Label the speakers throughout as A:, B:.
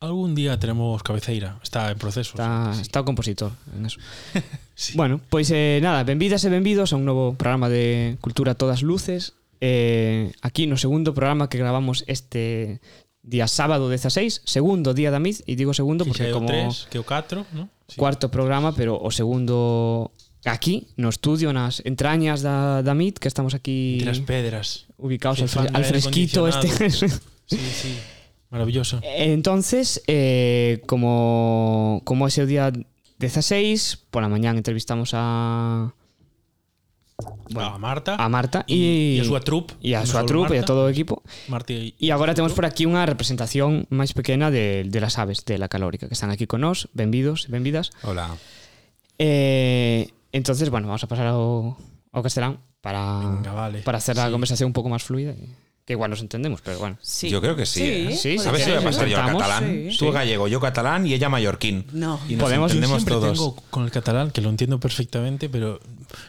A: algún día teremos cabeceira, está en proceso.
B: Está, está o compositor en eso. Bueno, pois eh, nada, benvidas e benvidos a un novo programa de Cultura a Todas Luces eh, Aquí no segundo programa que gravamos este día sábado 16 Segundo día da MID, e digo segundo
A: Que xa
B: porque
A: é o
B: como
A: 3, que é o 4, ¿no? Sí.
B: cuarto programa Pero o segundo aquí, no estudio, nas entrañas da, da MID Que estamos aquí
A: Entre as pedras.
B: ubicados al,
A: Chufando
B: fre- al
A: aire
B: fresquito este
A: Sí, sí. Maravilloso.
B: Entonces, eh, como, como ese día 16, pola mañán entrevistamos a,
A: a Ah, Marta.
B: a Marta
A: e,
B: e,
A: e a súa troupe.
B: e a
A: non
B: súa
A: só
B: trupe e a
A: Marta,
B: todo o equipo.
A: Marta e,
B: E agora temos por aquí unha representación máis pequena de, de las aves de la calórica que están aquí con nós, benvidos e benvidas.
C: Hola.
B: Eh, entonces, bueno, vamos a pasar ao, ao castelán para,
A: Venga, vale.
B: para hacer
A: Sí.
B: la conversación un pouco máis fluida, que igual nos entendemos, pero bueno.
D: Sí.
C: Yo creo que sí, ¿eh?
B: Sí,
C: ¿Sabes
B: sí,
C: si voy a
B: sí,
C: pasar yo al
B: intentamos,
C: catalán?
B: sí.
C: Tú gallego, yo catalán y ella mallorquín.
D: No.
C: Y nos
B: Podemos-
A: Yo
C: entendemos
A: siempre
C: todos.
A: tengo con el catalán, que lo entiendo perfectamente, pero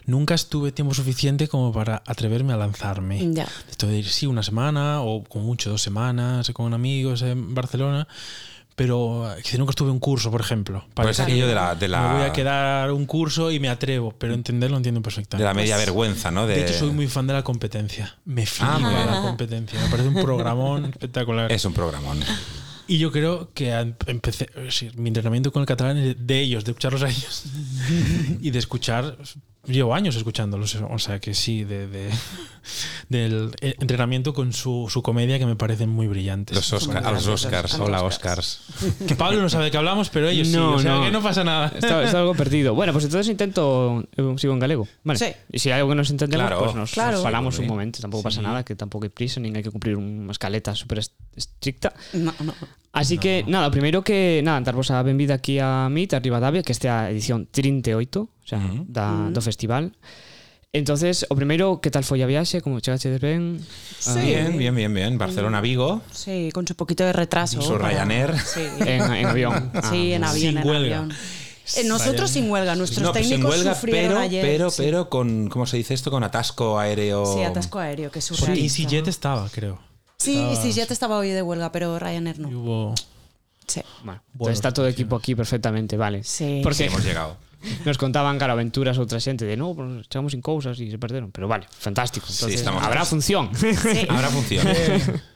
A: nunca estuve tiempo suficiente como para atreverme a lanzarme.
D: Ya.
A: Esto de ir, sí, una semana o con mucho dos semanas con amigos en Barcelona, pero eh, que nunca estuve en un curso, por ejemplo.
C: Pero es aquello de la, de la,
A: Me voy a quedar un curso y me atrevo, pero entenderlo entiendo
C: de
A: perfectamente.
C: la media vergüenza, ¿no? De,
A: Pues, De hecho, soy muy fan de la competencia. Me flipa
C: Ah, muy bien.
A: la competencia. Me parece un programón espectacular.
C: Es un programón.
A: Y yo creo que an- empecé, es decir, mi entrenamiento con el catalán es de ellos, de escucharlos a ellos. y de escuchar, llevo años escuchándolos, o sea que sí, de, de- del eh, entrenamiento con su, su comedia que me parecen muy brillantes.
C: Los Oscar- a los Oscars.
D: A los
C: Hola,
D: Oscars.
C: Oscars.
A: Que Pablo no sabe de qué hablamos, pero ellos sí,
B: No,
A: o sea
B: no.
A: que no pasa nada.
B: Está, está algo perdido. Bueno, pues entonces intento eu sigo en galego. Vale.
D: Sí.
B: E se hai algo que nos entendemos,
C: Claro.
B: pues nos,
D: Claro.
B: nos falamos
C: Sí.
B: un momento, tampouco pasa nada, que tampouco hai prisa, nin hai que cumprir unha escaleta super est- estricta.
D: No, no.
B: Así que, nada, primeiro que, nada, darvos a benvida aquí a MIT, a Rivadavia, que este é a edición 38, o sea, mm. da, mm. do festival. Entonces, o primeiro, que tal foi a viaxe? Como chegaste ben?
D: Sí.
C: Bien, bien, bien, bien. Barcelona, Vigo.
D: Sí, con su poquito de retraso.
C: Su
D: para-
C: Ryanair. Ah,
D: Sí.
B: En, en avión. Ah,
D: Sí, en avión.
A: Sin
D: en
A: huelga.
D: avión. Eh, nosotros
A: Ryanair.
D: sin huelga, nuestros
C: No, pues
D: técnicos
C: en huelga,
D: sufrieron
C: pero,
D: ayer.
C: pero,
D: sí.
C: pero con, ¿cómo se dice esto? Con atasco aéreo.
D: Sí, atasco aéreo, que es
A: Porque
D: surrealista.
A: EasyJet estaba, creo.
D: Sí, EasyJet estaba hoy de huelga, pero Ryanair
A: Y
D: no.
A: hubo...
D: Sí.
B: Bueno,
A: Bueno,
B: entonces está todo o equipo aquí perfectamente, vale.
D: Sí.
C: Sí,
B: Porque
C: hemos llegado.
B: Nos contaban, claro, aventuras outra xente de, no, pues, chegamos sin cousas e se perderon. Pero vale, fantástico. Entonces,
C: estamos-
B: habrá función.
D: Sí.
C: Ahora funciona.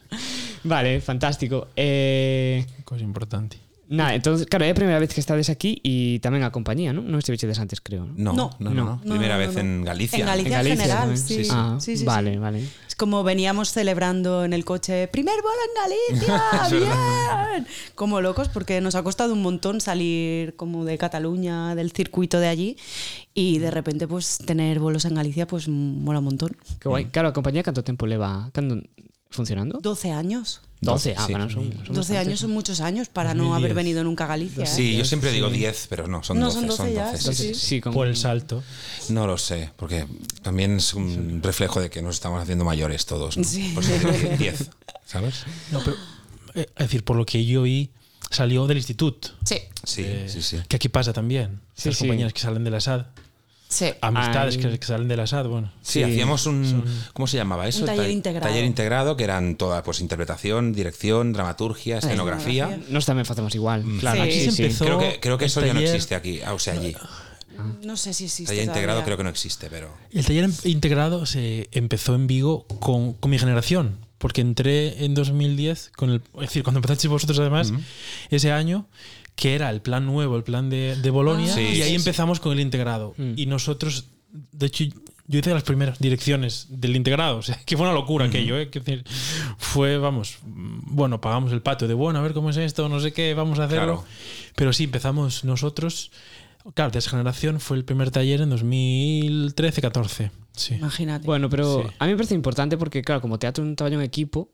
B: vale, fantástico. Eh,
A: Cosa importante.
B: nada, entonces, claro, é a primeira vez que estades aquí e tamén a compañía, non? Non estivechedes antes, creo, non?
C: No, no, no.
B: No.
C: no. Primera
D: no,
C: vez
D: no.
C: en Galicia.
D: En Galicia, en general, sí.
C: Sí, sí.
B: Ah,
D: Sí, sí,
B: vale, vale.
D: Es como veníamos celebrando en el coche, primer vuelo en Galicia, bien. Como locos, porque nos ha costado un montón salir como de Cataluña, del circuito de allí, y de repente pues tener vuelos en Galicia pues mola un montón.
B: Que guai.
C: Mm.
B: Claro, a compañía canto tempo leva cando funcionando?
D: 12 años.
B: 12, ah,
C: Sí.
B: bueno, son, son
D: 12
B: bastantes.
D: años son muchos años para no haber venido nunca a Galicia. ¿eh?
C: Sí, yo siempre digo 10, pero no, son
D: No,
C: 12.
D: son 12 ya,
C: sí,
D: sí,
C: sí, sí.
B: Sí, con,
A: Por el salto.
C: No lo sé, porque también es un reflejo de que nos estamos haciendo mayores todos. ¿no? Pues
D: Sí.
C: Por eso digo 10, ¿sabes?
A: No, pero... eh, Es decir, por lo que yo vi, salió del instituto.
D: Sí,
C: Sí,
A: Eh,
C: sí, sí.
A: Que aquí pasa también.
B: Sí,
A: Las
B: sí.
A: compañías que salen de la SAD.
D: sí.
C: Ah.
A: Amistades
B: Ay.
A: que, que salen de la SAD, bueno.
C: Sí, hacíamos un. ¿Cómo se llamaba eso?
D: Un taller
C: Ta-
D: integrado.
C: Taller integrado, que eran toda pues, interpretación, dirección, dramaturgia, escenografía.
B: Nós tamén facemos igual.
C: Mm.
B: Claro,
D: Sí.
B: aquí
A: Aquí se
B: sí.
A: empezó
C: Creo que, creo que
A: el
C: eso ya no
A: taller-
C: existe aquí, ah, o sea, allí.
D: No sé si existe.
C: Taller
D: todavía.
C: integrado creo que no existe, pero.
A: El taller em- integrado se empezó en Vigo con, con mi generación, porque entré en 2010, con el, es decir, cuando empezasteis vosotros además, ese año, que era el plan nuevo, el plan de, de Bolonia,
C: Ah, Sí,
A: y ahí
C: sí, Mm.
A: empezamos con el integrado. Y nosotros, de hecho, yo hice las primeras direcciones del integrado, o sea, que fue una locura aquello, ¿eh? Que es decir, fue, vamos, mm, bueno, pagamos el pato de, bueno, a ver cómo es esto, no sé qué, vamos a hacerlo.
C: Claro.
A: Pero sí, empezamos nosotros. Claro, de esa generación fue el primer taller en 2013-14. Sí.
D: Imagínate.
B: Bueno, pero a mí me parece importante porque, claro, como teatro é un traballo en equipo,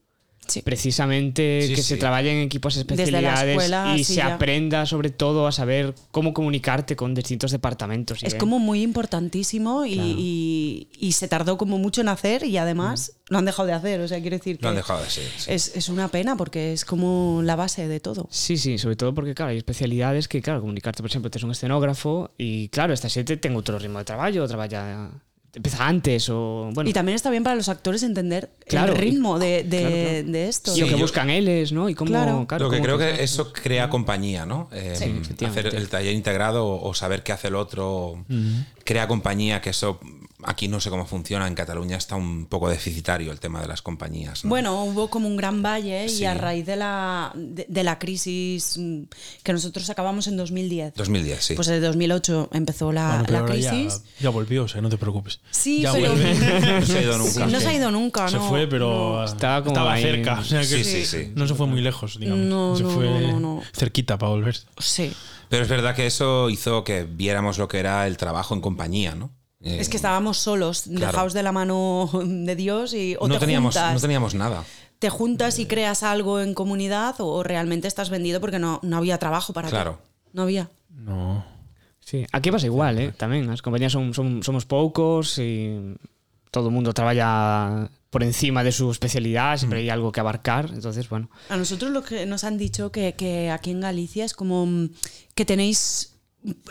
D: Sí.
B: precisamente
C: Sí,
B: que
C: sí.
B: se traballe en equipos
D: la
B: especialidades
D: escuela,
B: y
D: sí,
B: se
D: ya.
B: aprenda sobre todo a saber cómo comunicarte con distintos departamentos. y
D: Es
C: ¿eh?
B: ven.
D: como muy importantísimo y, y- y se tardó como mucho en hacer y además lo han dejado de hacer. O sea, quiero decir que
C: Lo han dejado de ser. sí.
D: es, es una pena porque es como la base de todo.
B: Sí, sí, sobre todo porque, claro, hay especialidades que, claro, comunicarte, por exemplo, tes un escenógrafo e, claro, esta xente ten outro ritmo de traballo, traballa Empieza antes o. Bueno,
D: Y también está bien para los actores entender
B: Claro,
D: el
B: y-
D: ritmo de, de-
B: claro, claro.
D: de esto.
B: y lo
C: Sí,
B: que
C: yo-
B: buscan él ¿no? Y cómo.
D: Claro.
B: claro,
C: Lo que
B: cómo
C: creo
B: buscan.
C: que eso crea compañía, ¿no? Eh, hacer
B: efectivamente.
C: el taller integrado o o saber qué hace el otro crea compañía, que eso aquí no sé cómo funciona. En Cataluña está un poco deficitario el tema de las compañías. ¿no?
D: Bueno, hubo como un gran valle y
C: Sí.
D: a raíz de la, de, de la crisis mm, que nosotros acabamos en 2010.
C: 2010, sí.
D: Pues en 2008 empezó la,
A: Bueno, Ah, pero
D: la
A: ahora ya-
D: crisis.
A: Ya, volvió, o sea, no te preocupes.
D: Sí,
A: Ya
D: pero
A: vuelve.
C: no se ha ido
D: Sí,
C: nunca.
D: no se ha ido nunca,
A: Se
D: no,
A: fue, pero
D: no.
B: Estaba como
A: estaba
B: ahí.
A: cerca. o sea que
C: Sí, sí, sí.
A: No se fue muy lejos, digamos.
D: No,
A: se
D: no,
A: fue
D: no, no, no.
A: cerquita para volver.
D: Sí.
C: Pero es verdad que eso hizo que viéramos lo que era el trabajo en compañía, ¿no? Eh,
D: Es que estábamos solos,
C: claro.
D: dejados de la mano de Dios y o
C: no
D: te
C: teníamos,
D: juntas.
C: no Eh. teníamos nada.
D: te juntas y creas algo en comunidad o, o realmente estás vendido porque no, no había trabajo para ti.
C: Claro.
D: No había.
A: No.
B: Sí, aquí pasa igual, eh, tamén. As compañías son, son, somos poucos e todo o mundo traballa por encima de su especialidad,
C: Mm.
B: sempre hai algo que abarcar, entonces, bueno.
D: A nosotros lo que nos han dicho que, que aquí en Galicia es como mm, que tenéis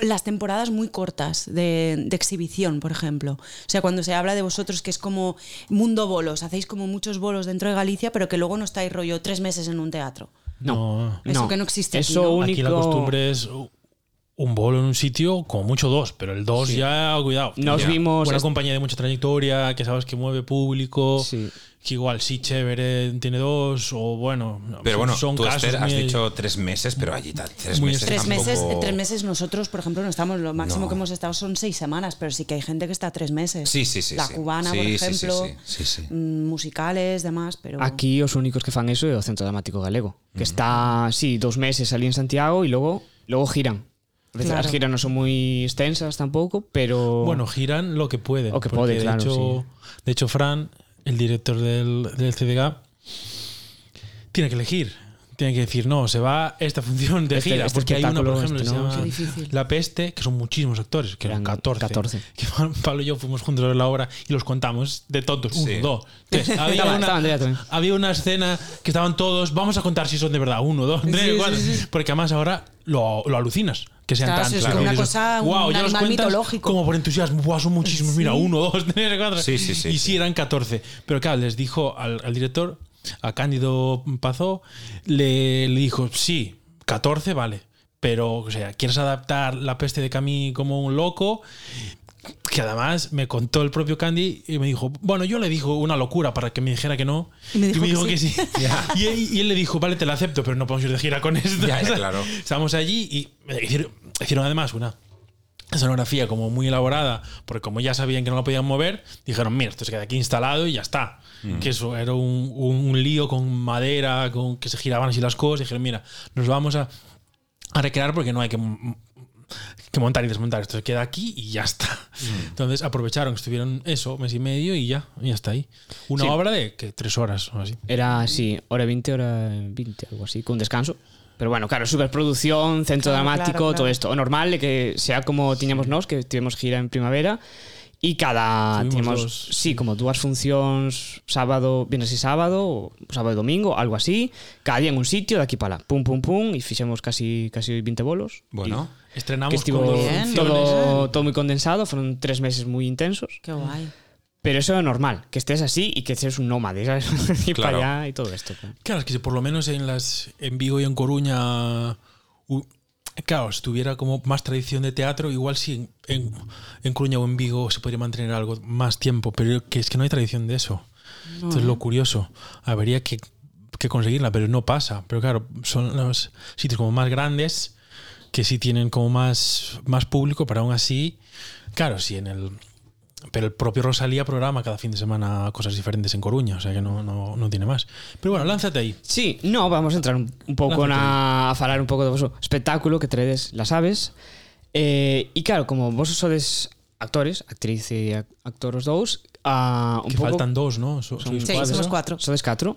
D: las temporadas muy cortas de, de exhibición, por ejemplo. O sea, cuando se habla de vosotros que es como mundo bolos, hacéis como muchos bolos dentro de Galicia, pero que luego no estáis rollo tres meses en un teatro.
A: No.
D: Eso que no existe aquí,
B: Eso
D: ¿no?
B: único...
A: Aquí la costumbre es un bolo en un sitio, como mucho dos, pero el dos ya, cuidado.
B: Nos
A: Ya.
B: vimos
A: Una
B: est-
A: compañía de mucha trayectoria, que sabes que mueve público.
B: Sí.
A: Que igual sí, chévere, tiene dos, o bueno.
C: Pero bueno,
A: son
C: tú,
A: casos
C: Esther, has
A: muy-
C: dicho tres meses, pero allí ta- tres
A: Muy
C: meses
D: Tres
C: tampoco-
D: meses, eh, tres meses nosotros, por ejemplo, no estamos, lo máximo
C: No.
D: que hemos estado son seis semanas, pero sí que hay gente que está tres meses.
C: Sí, sí, sí.
D: La
C: sí.
D: cubana, por
C: Sí, sí, sí,
D: ejemplo,
C: sí, sí, sí.
D: mm, musicales, demás, pero...
B: Aquí os únicos que fan eso é o Centro Dramático Galego,
A: Mm.
B: que está, sí, dos meses ali en Santiago e logo logo giran. A veces
D: Claro.
B: as giras non son moi extensas tampouco, pero
A: Bueno, giran lo que pueden.
B: O que
A: porque
B: puede,
A: de,
B: claro,
A: hecho, de hecho, Fran, el director del, del CDG, tiene que elegir. Tiene que decir, no, se va esta función de
B: Este-
A: gira.
B: este
A: porque hay una, por
B: espectáculo,
A: ejemplo,
B: este,
A: que se
B: ¿no?
A: llama
D: Qué difícil.
A: La Peste, que son muchísimos actores, que eran
B: Eran
A: 14.
B: 14.
A: Que Pablo y yo fuimos juntos a ver la obra y los contamos de tontos. Uno,
C: Sí.
A: dos, tres. Había
B: Estaban- estaban
A: una,
B: ya también.
A: había una escena que estaban todos, vamos a contar si son de verdad. Uno, dos, tres,
D: sí,
A: cuatro.
D: sí.
A: Porque además ahora lo, lo alucinas. Que sean
D: Claro,
A: tantos.
D: sí, es como una
A: Dices,
D: cosa, un
A: "Guau, ya los
D: animal
A: cuentas
D: mitológico".
A: como por entusiasmo, "Buah, son muchísimos, mira, uno, dos, tres, cuatro.
C: Sí, sí, sí,
A: Y sí,
C: sí.
A: eran 14. Pero claro, les dijo al, al director, a Cándido Pazó, le, le dijo, sí, 14 vale. Pero, o sea, quieres adaptar la peste de Camille como un loco, que además me contó el propio Candy y me dijo, bueno, yo le dijo una locura para que me dijera que no.
D: Y me dijo que
A: que sí. Y, él- y él le dijo, vale, te la acepto, pero no podemos ir de gira con esto.
C: Ya, ya, claro.
A: Estábamos allí y eh, hicieron, hicieron además una sonografía como muy elaborada, porque como ya sabían que no la podían mover, dijeron, mira, esto se queda aquí instalado y ya está. Que eso era un, un- un lío con madera, con que se giraban así las cosas. Y dijeron, mira, nos vamos a, a recrear porque no hay que, m- que montar y desmontar. Esto se queda aquí y ya está. Entonces aprovecharon, estuvieron eso, mes y medio y ya, y ya está ahí. Una
B: Sí.
A: obra de que tres horas o así.
B: Era así, hora 20, hora 20, algo así, con descanso. Pero bueno, claro, superproducción, centro
D: Claro,
B: dramático,
D: claro, claro.
B: todo esto. O normal é que sea como tiñamos nós, que tivemos gira en primavera, e cada
A: Tuvimos
B: tiñamos,
A: dos,
B: sí, como dúas funcións sábado, viernes e sábado, ou sábado e domingo, algo así, cada día en un sitio, de aquí para lá, pum pum pum, e fixemos casi casi 20 bolos.
C: Bueno,
B: que
A: Estrenamos
B: estivo
A: con dos
D: Bien.
A: funciones.
B: todo, todo moi condensado, foron tres meses moi intensos.
D: Qué guay.
B: Pero eso é normal, que estés así e que seas un nómade, ¿sabes? ir para
C: Claro.
B: allá e todo esto. claro.
A: Claro, es que si por lo menos en las en Vigo y en Coruña, u- claro, si tuviera como más tradición de teatro, igual sí en, en, en Coruña o en Vigo se podría mantener algo más tiempo, pero que es que no hay tradición de eso. Esto es lo curioso. Habría que, que conseguirla, pero no pasa. Pero claro, son los sitios como más grandes que sí tienen como más, más público, pero aún así, claro, sí en el... Pero el propio Rosalía programa cada fin de semana cosas diferentes en Coruña, o sea que no, no, no tiene más. Pero bueno, lánzate ahí.
B: Sí, no, vamos a entrar un, un pouco na, a falar un pouco do vosso espectáculo que traedes las aves. Eh, e claro, como vos sodes actores, actriz e ac- actor os dous, a un
A: que
B: pouco
A: faltan dos, ¿no? So- sois
D: Sí,
A: cuatro.
D: somos cuatro.
B: sodes catro.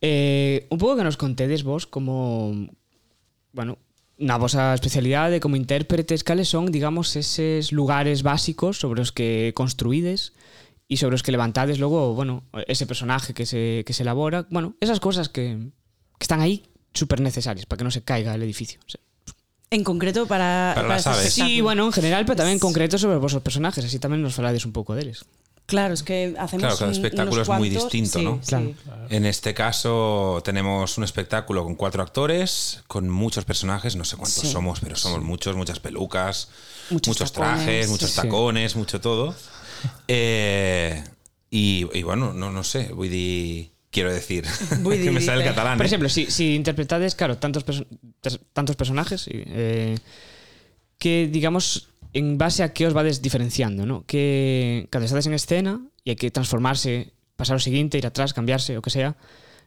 B: Eh, un pouco que nos contedes vos como bueno, na vosa especialidade como intérpretes, cales son, digamos, eses lugares básicos sobre os que construídes e sobre os que levantades logo, bueno, ese personaje que se, que se elabora, bueno, esas cosas que, que están aí super necesarias para que non se caiga el edificio. O sea,
D: En concreto para,
C: Para las
D: este
C: aves.
D: espectáculo.
B: Sí, bueno, en general, pero también en concreto sobre vuestros personajes, así también nos falades un pouco deles.
D: Claro, es que hacemos
C: Claro, cada
D: un-
C: espectáculo
D: unos
C: es muy
D: cuantos-
C: distinto,
D: sí,
C: ¿no?
D: sí.
B: Claro.
C: En este caso tenemos un espectáculo con cuatro actores, con muchos personajes, no sé
D: Sí.
C: cuántos somos, pero somos muchos, muchas pelucas,
D: Muchos
C: muchos,
D: tacones.
C: trajes, muchos
B: Sí.
C: tacones, mucho todo. Eh, y, y bueno, no, no sé, vull dir- quiero decir,
D: Vull
C: que me
D: dir,
C: sale el
D: dice.
C: catalán.
B: Por
C: eh.
B: exemplo, si, si interpretades, claro, tantos, perso- tes- tantos personajes y, eh, que, digamos, en base a que os vades diferenciando, ¿no? Que cando estades en escena e hai que transformarse, pasar o seguinte, ir atrás, cambiarse, o que sea,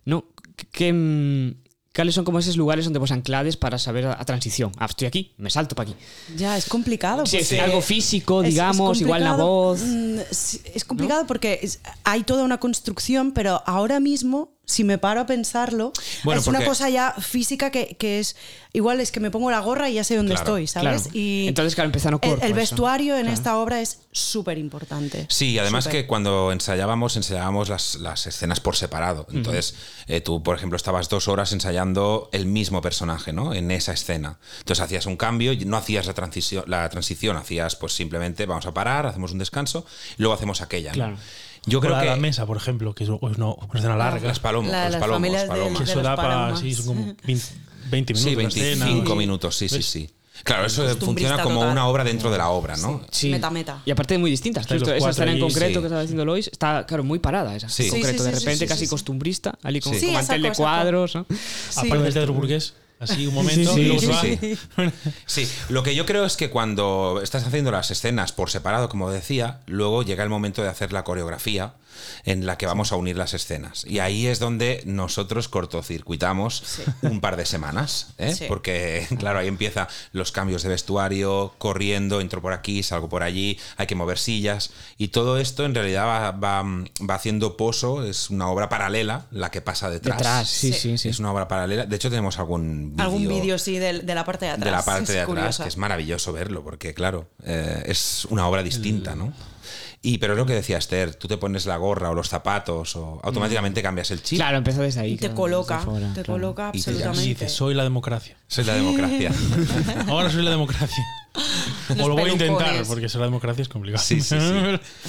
B: ¿no? Que, mm, cales son como esos lugares onde vos anclades para saber a, a transición? Ah, estoy aquí, me salto para aquí.
D: Ya, es complicado.
B: Sí,
D: porque
B: sí. Algo físico,
D: Pues es- es
B: digamos, igual la
D: complicado,
B: voz.
D: mm, sí, Es complicado porque es- hay toda una construcción, pero ahora mismo, si me paro a pensarlo,
C: Bueno,
D: es una
C: porque-
D: cosa ya física que, que es. Igual es que me pongo la gorra y ya sé dónde
C: Claro,
D: estoy, ¿sabes?
B: Claro.
D: Y
B: Entonces, claro, empezaron
D: el-
B: corpo,
D: El,
B: eso.
D: vestuario en esta obra es súper importante.
C: Sí, además
D: Súper.
C: que cuando ensayábamos, ensayábamos las, las escenas por separado. Entonces, eh, tú, por ejemplo, estabas dos horas ensayando el mismo personaje, ¿no? En esa escena. Entonces hacías un cambio, y no hacías la transición, la transición, hacías pues simplemente vamos a parar, hacemos un descanso, y luego hacemos aquella. ¿no?
B: Claro.
C: Yo creo
A: la,
C: que
A: la mesa, por ejemplo, que es o- no, una escena larga.
C: las pues, palomos,
D: La-
C: los
D: las
C: palomos,
D: familias del-
C: palomos.
A: que eso
D: los
A: da para.
D: palomas.
A: Sí, son como 20, 20 minutos.
C: Sí,
A: de escena,
C: 25
A: o-
C: minutos, sí, sí,
A: ¿Ves?
C: sí. Claro, eso
D: Costumbrista
C: funciona como
D: total.
C: una obra dentro de la obra, ¿no?
B: Sí.
D: Meta, meta.
B: Y aparte muy distintas.
A: Estáis
B: Justo
A: los
B: esa
A: cuatro
B: escena en
A: allí,
B: concreto
C: sí.
B: que estaba diciendo Lois está, claro, muy parada esa.
C: Sí.
B: En
C: Sí,
B: concreto,
D: sí,
B: de
D: sí, sí,
B: repente
D: sí,
B: casi
D: sí, sí.
B: acostumbrista, allí con
C: Sí.
B: un
C: Sí,
B: mantel de
D: esa cosa,
B: cuadros. ¿no?
A: Aparte del teatro burgués, así un momento.
B: Sí,
A: y luego
C: sí,
A: se va.
C: sí. Sí, lo que yo creo es que cuando estás haciendo las escenas por separado, como decía, luego llega el momento de hacer la coreografía en la que vamos a unir las escenas. Y ahí es donde nosotros cortocircuitamos un par de semanas, ¿eh?
D: Sí.
C: porque claro, ahí empieza los cambios de vestuario, corriendo, entro por aquí, salgo por allí, hay que mover sillas. Y todo esto en realidad va, va- va haciendo poso, es una obra paralela, la que pasa detrás.
B: Detrás, sí, sí, sí.
C: Es una obra paralela. De hecho, tenemos algún vídeo
D: Algún vídeo, sí, del- de, la parte de atrás.
C: de la parte
D: Es
C: de atrás,
D: curiosa.
C: que es maravilloso verlo, porque claro, eh, es una obra distinta, ¿no? Y pero es lo que decía Esther, tú te pones la gorra o los zapatos o automáticamente cambias el chip.
B: Claro, empezó desde ahí.
D: Y te
B: claro,
D: coloca,
B: desde fuera,
D: te
B: claro.
D: coloca
C: Y
A: Y
C: te llamas.
A: "Ah,
D: absolutamente.
A: dices, soy la democracia.
C: Eso es la democracia.
A: Ahora soy la democracia.
D: Los
A: o lo voy a intentar,
D: pelucones.
A: porque ser la democracia es complicado.
C: Sí, sí, sí.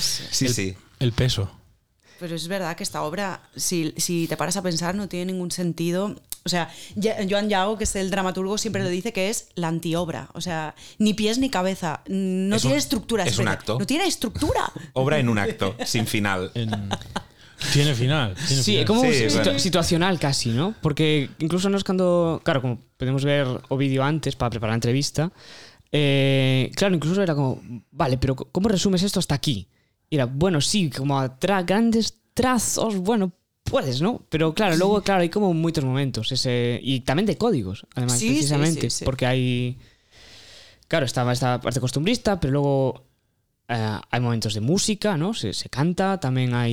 C: Sí,
A: El-
C: sí.
A: El peso.
D: Pero es verdad que esta obra, si, si te paras a pensar, no tiene ningún sentido. O sea, Ya- Joan Yago, que es el dramaturgo, siempre lo dice que es la antiobra. O sea, ni pies ni cabeza. No
C: Es
D: tiene
C: un-
D: estructura.
C: es un
D: espera,
C: acto.
D: No tiene estructura.
C: Obra en un acto, sin final.
A: En- Tiene final. tiene
B: Sí,
A: final.
B: é como
C: Sí,
B: un situ-
C: bueno.
B: situacional casi, ¿no? Porque incluso nos cando, claro, como podemos ver o vídeo antes para preparar a entrevista, eh, claro, incluso era como, vale, pero co- ¿cómo resumes esto hasta aquí? Y era, bueno, sí, como a tra- grandes trazos, bueno, puedes, ¿no? Pero claro, luego, claro, hay como muchos momentos, ese, y también de códigos, además,
D: Sí, sí,
B: precisamente,
D: sí, sí.
B: porque hay... Claro, estaba esta parte costumbrista, pero luego eh, hay momentos de música, ¿no? Se, se canta, también hay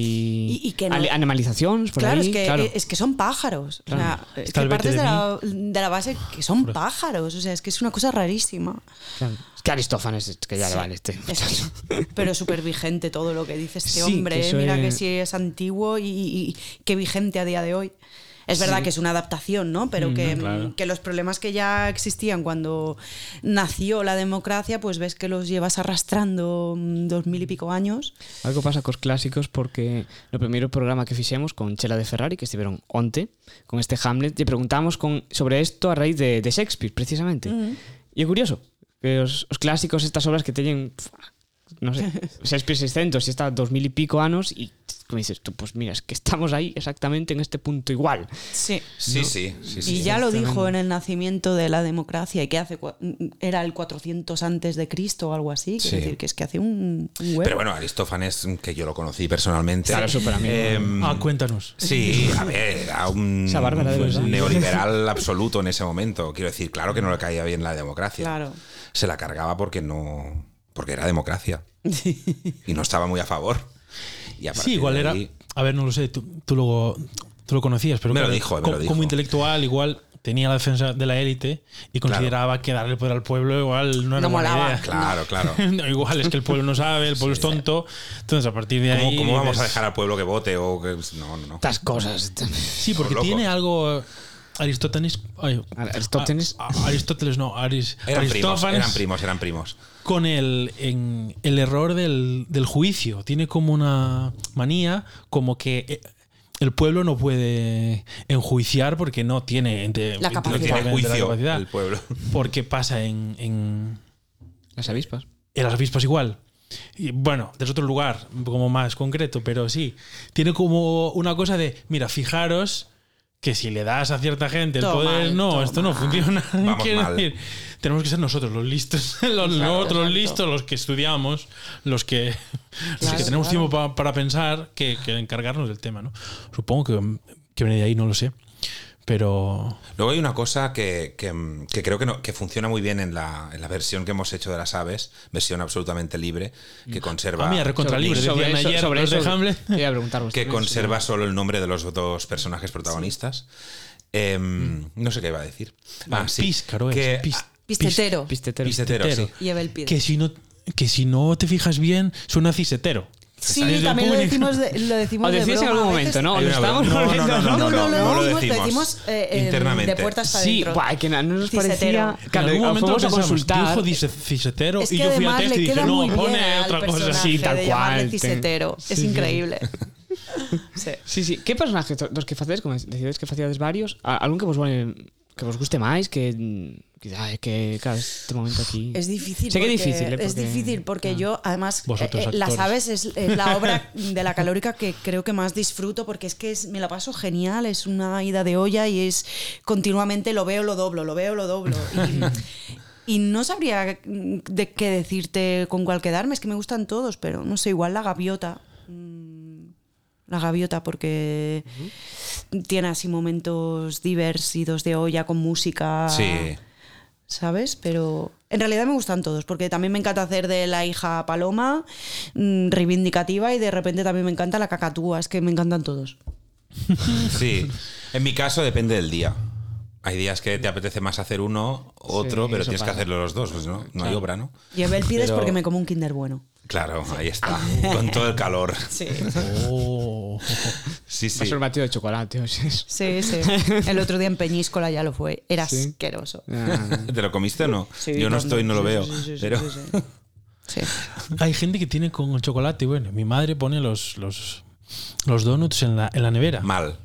D: Y- y que no-
B: ale- animalizaciones por
D: claro,
B: ahí.
D: es que, e-,
B: claro.
D: es que son pájaros. O sea,
B: Claro.
D: es
A: Está
D: que
A: el vete
D: partes de,
A: de
D: la, de la base que son pájaros. O sea, es que es una cosa rarísima.
B: Claro. Es que Aristófanes, es que ya le vale este.
D: Es que- pero súper vigente todo lo que dice este
B: Sí,
D: hombre.
B: que
D: ¿eh?
B: eso
D: Mira que
B: es-
D: sí es antiguo y, y- y qué vigente a día de hoy. Es verdad que es una adaptación, ¿no?
B: Mm,
D: Pero que,
A: claro.
D: que los problemas que ya existían cuando nació la democracia, pues ves que los llevas arrastrando mm, dos mil y pico años.
B: Algo pasa cos clásicos porque no primeiro programa que fixemos con Chela de Ferrari, que estiveron onte, con este Hamlet, lle preguntamos con, sobre isto a raíz de, de Shakespeare, precisamente. E é curioso, que os, os clásicos estas obras que teñen, pf, no sé, Shakespeare 600 e está 2000 e pico anos, e como dices tú, pues mira, es que estamos ahí exactamente en este punto igual.
D: Sí.
C: Sí, sí, sí, sí.
D: Y ya lo dijo en el nacimiento de la democracia, y que hace cua- era el 400 antes de Cristo o algo así, que
C: Sí.
D: es decir, que es que hace un, un huevo.
C: Pero bueno, Aristófanes, que yo lo conocí personalmente.
B: Claro, súper amigo.
C: em,
A: Ah, cuéntanos.
C: Sí, a ver, a un
B: Esa bárbara de verdad.
C: neoliberal absoluto en ese momento. Quiero decir, claro que no le caía bien la democracia.
D: Claro.
C: Se la cargaba porque no. porque era democracia. Y no estaba muy a favor. Y a
A: Sí,
C: partir
A: igual
C: de
A: era.
C: ahí-
A: A ver, no lo sé, tú, tú luego tú lo conocías, pero
C: Me lo
A: claro,
C: dijo, me
A: co-
C: lo dijo.
A: como intelectual, igual tenía la defensa de la élite y consideraba que darle poder al pueblo igual no era
D: No
A: buena
D: molaba.
A: idea.
C: Claro, claro.
A: No, igual es que el pueblo no sabe, el pueblo es tonto. Entonces, a partir de
C: ¿Cómo,
A: ahí.
C: cómo vamos
A: dices-
C: a dejar al pueblo que vote? O que... No, no, no.
B: Estas cosas.
A: Sí, porque
C: Loco.
A: tiene algo. Aristóteles. ay,
B: Aristóteles.
A: a- a- Aristóteles no, Aris-
C: Ah. Eran primos,
A: Aristófanes
C: eran primos, eran primos.
A: con el, en, el error del, del juicio. Tiene como una manía, como que eh, el pueblo no puede enjuiciar porque no tiene entre-
D: La
C: No
D: capacidad.
A: entre-
C: tiene
A: la
C: juicio
A: capacidad.
C: el pueblo.
A: Porque pasa en, en, ah,
B: Las avispas.
A: en las avispas igual. Y bueno, desde otro lugar, como más concreto, pero sí. Tiene como una cosa de, mira, fijaros que si le das a cierta gente el
D: Toma,
A: poder, no,
D: toma.
A: esto no funciona.
C: Vamos
A: Quiero
C: mal.
A: decir, tenemos que ser nosotros los listos, los, nosotros
D: exacto.
A: listos, los que estudiamos, los que, los
D: Claro,
A: que tenemos
D: claro.
A: tiempo pa- para pensar, que, que encargarnos del tema, ¿no? Supongo que, que viene de ahí, no lo sé. Pero
C: Luego hay una cosa que, que, mm, que creo que, no- que funciona muy bien en la, en la versión que hemos hecho de las aves, versión absolutamente libre, que conserva,
A: Ah, mira, recontra libre, decían ayer los de Hamlet.
B: Quería preguntaros.
C: que
B: Pues también,
C: conserva solo el nombre de los dos personajes protagonistas. Em, no sé qué iba a decir. Ah, sí.
A: Píscaro es,
C: que,
A: pis-
D: Pistetero.
B: sí. Pistetero.
C: Pistetero,
A: Pistetero.
C: sí.
D: Lleva el pie.
A: que si no que si no te fijas bien suena cisetero
D: Sí,
A: Exacto.
D: también lo
A: Comunica-
D: decimos de, lo decimos
B: Os
D: de
B: decís en
D: broma
B: algún
D: a
B: momento,
D: veces.
B: ¿no?
C: Hay
B: Lo
C: una
B: estábamos
C: broma. No,
B: volviendo,
C: no,
D: No, no, no,
C: no,
D: lo
C: no lo
D: decimos, lo
C: decimos.
D: decimos eh, eh,
C: Internamente.
D: de puertas para
B: Sí,
D: adentro.
B: guay, que no nos
D: Cisetero.
B: parecía. Claro,
A: en algún momento
B: fuimos a
A: pensamos,
B: consultar.
A: dijo dice- cisetero
D: Es que
A: y yo fui al
D: además
A: texto
D: le
A: y
D: queda
A: dije no
D: muy bien
A: pone
D: al
A: otra cosa
D: personaje
B: Sí, tal
D: de llamarle
B: cual, te-
D: cisetero.
B: Sí,
D: es
B: sí.
D: increíble. Sí.
B: Sí, sí. Que personajes dos que facedes? Como decides que facedes varios? A- Algún que vos vale, que vos guste máis? Que, mm, que, ay, que claro, este momento aquí...
D: Es difícil.
B: Sé que
D: porque-
B: es difícil, eh,
D: Es
B: porque-
D: difícil porque
B: claro.
D: yo, además,
A: Vosotros
D: eh, eh, Las
A: actores.
D: Aves es, es la obra de la calórica que creo que más disfruto porque es que es- me la paso genial, es una ida de olla y es continuamente lo veo, lo doblo, lo veo, lo doblo. Y, y no sabría mm, de qué decirte con cuál quedarme, es que me gustan todos, pero no sé, igual la gaviota. mm, La gaviota, porque tiene así momentos diversos de olla con música.
C: Sí.
D: ¿sabes? Pero en realidad me gustan todos, porque también me encanta hacer de la hija paloma mm, reivindicativa y de repente también me encanta la cacatúa, es que me encantan todos.
C: Sí. En mi caso depende del día. Hay días que te apetece más hacer uno, otro,
B: Sí,
C: pero
B: eso
C: tienes
B: pasa.
C: que hacerlo los dos, pues, ¿no? No hay obra, ¿no?
D: Llevé el pides
C: Pero-
D: porque me como un kinder bueno.
C: Claro, ahí está. Con todo el calor.
D: Sí.
A: Oh.
C: Sí,
B: Va a
C: sí.
B: ser un batido de chocolate, o sea, es-
D: Sí, sí. El otro día en Peñíscola ya lo fue. Era
B: Sí.
D: asqueroso.
B: Ah,
C: ¿Te lo comiste o no?
D: Sí,
C: Yo no
D: cuando-
C: estoy, no lo
D: sí,
C: veo.
D: sí, sí, sí,
C: pero
D: sí, sí. Sí.
A: hay gente que tiene con el chocolate bueno mi madre pone los los los donuts en la, en la nevera.
C: mal.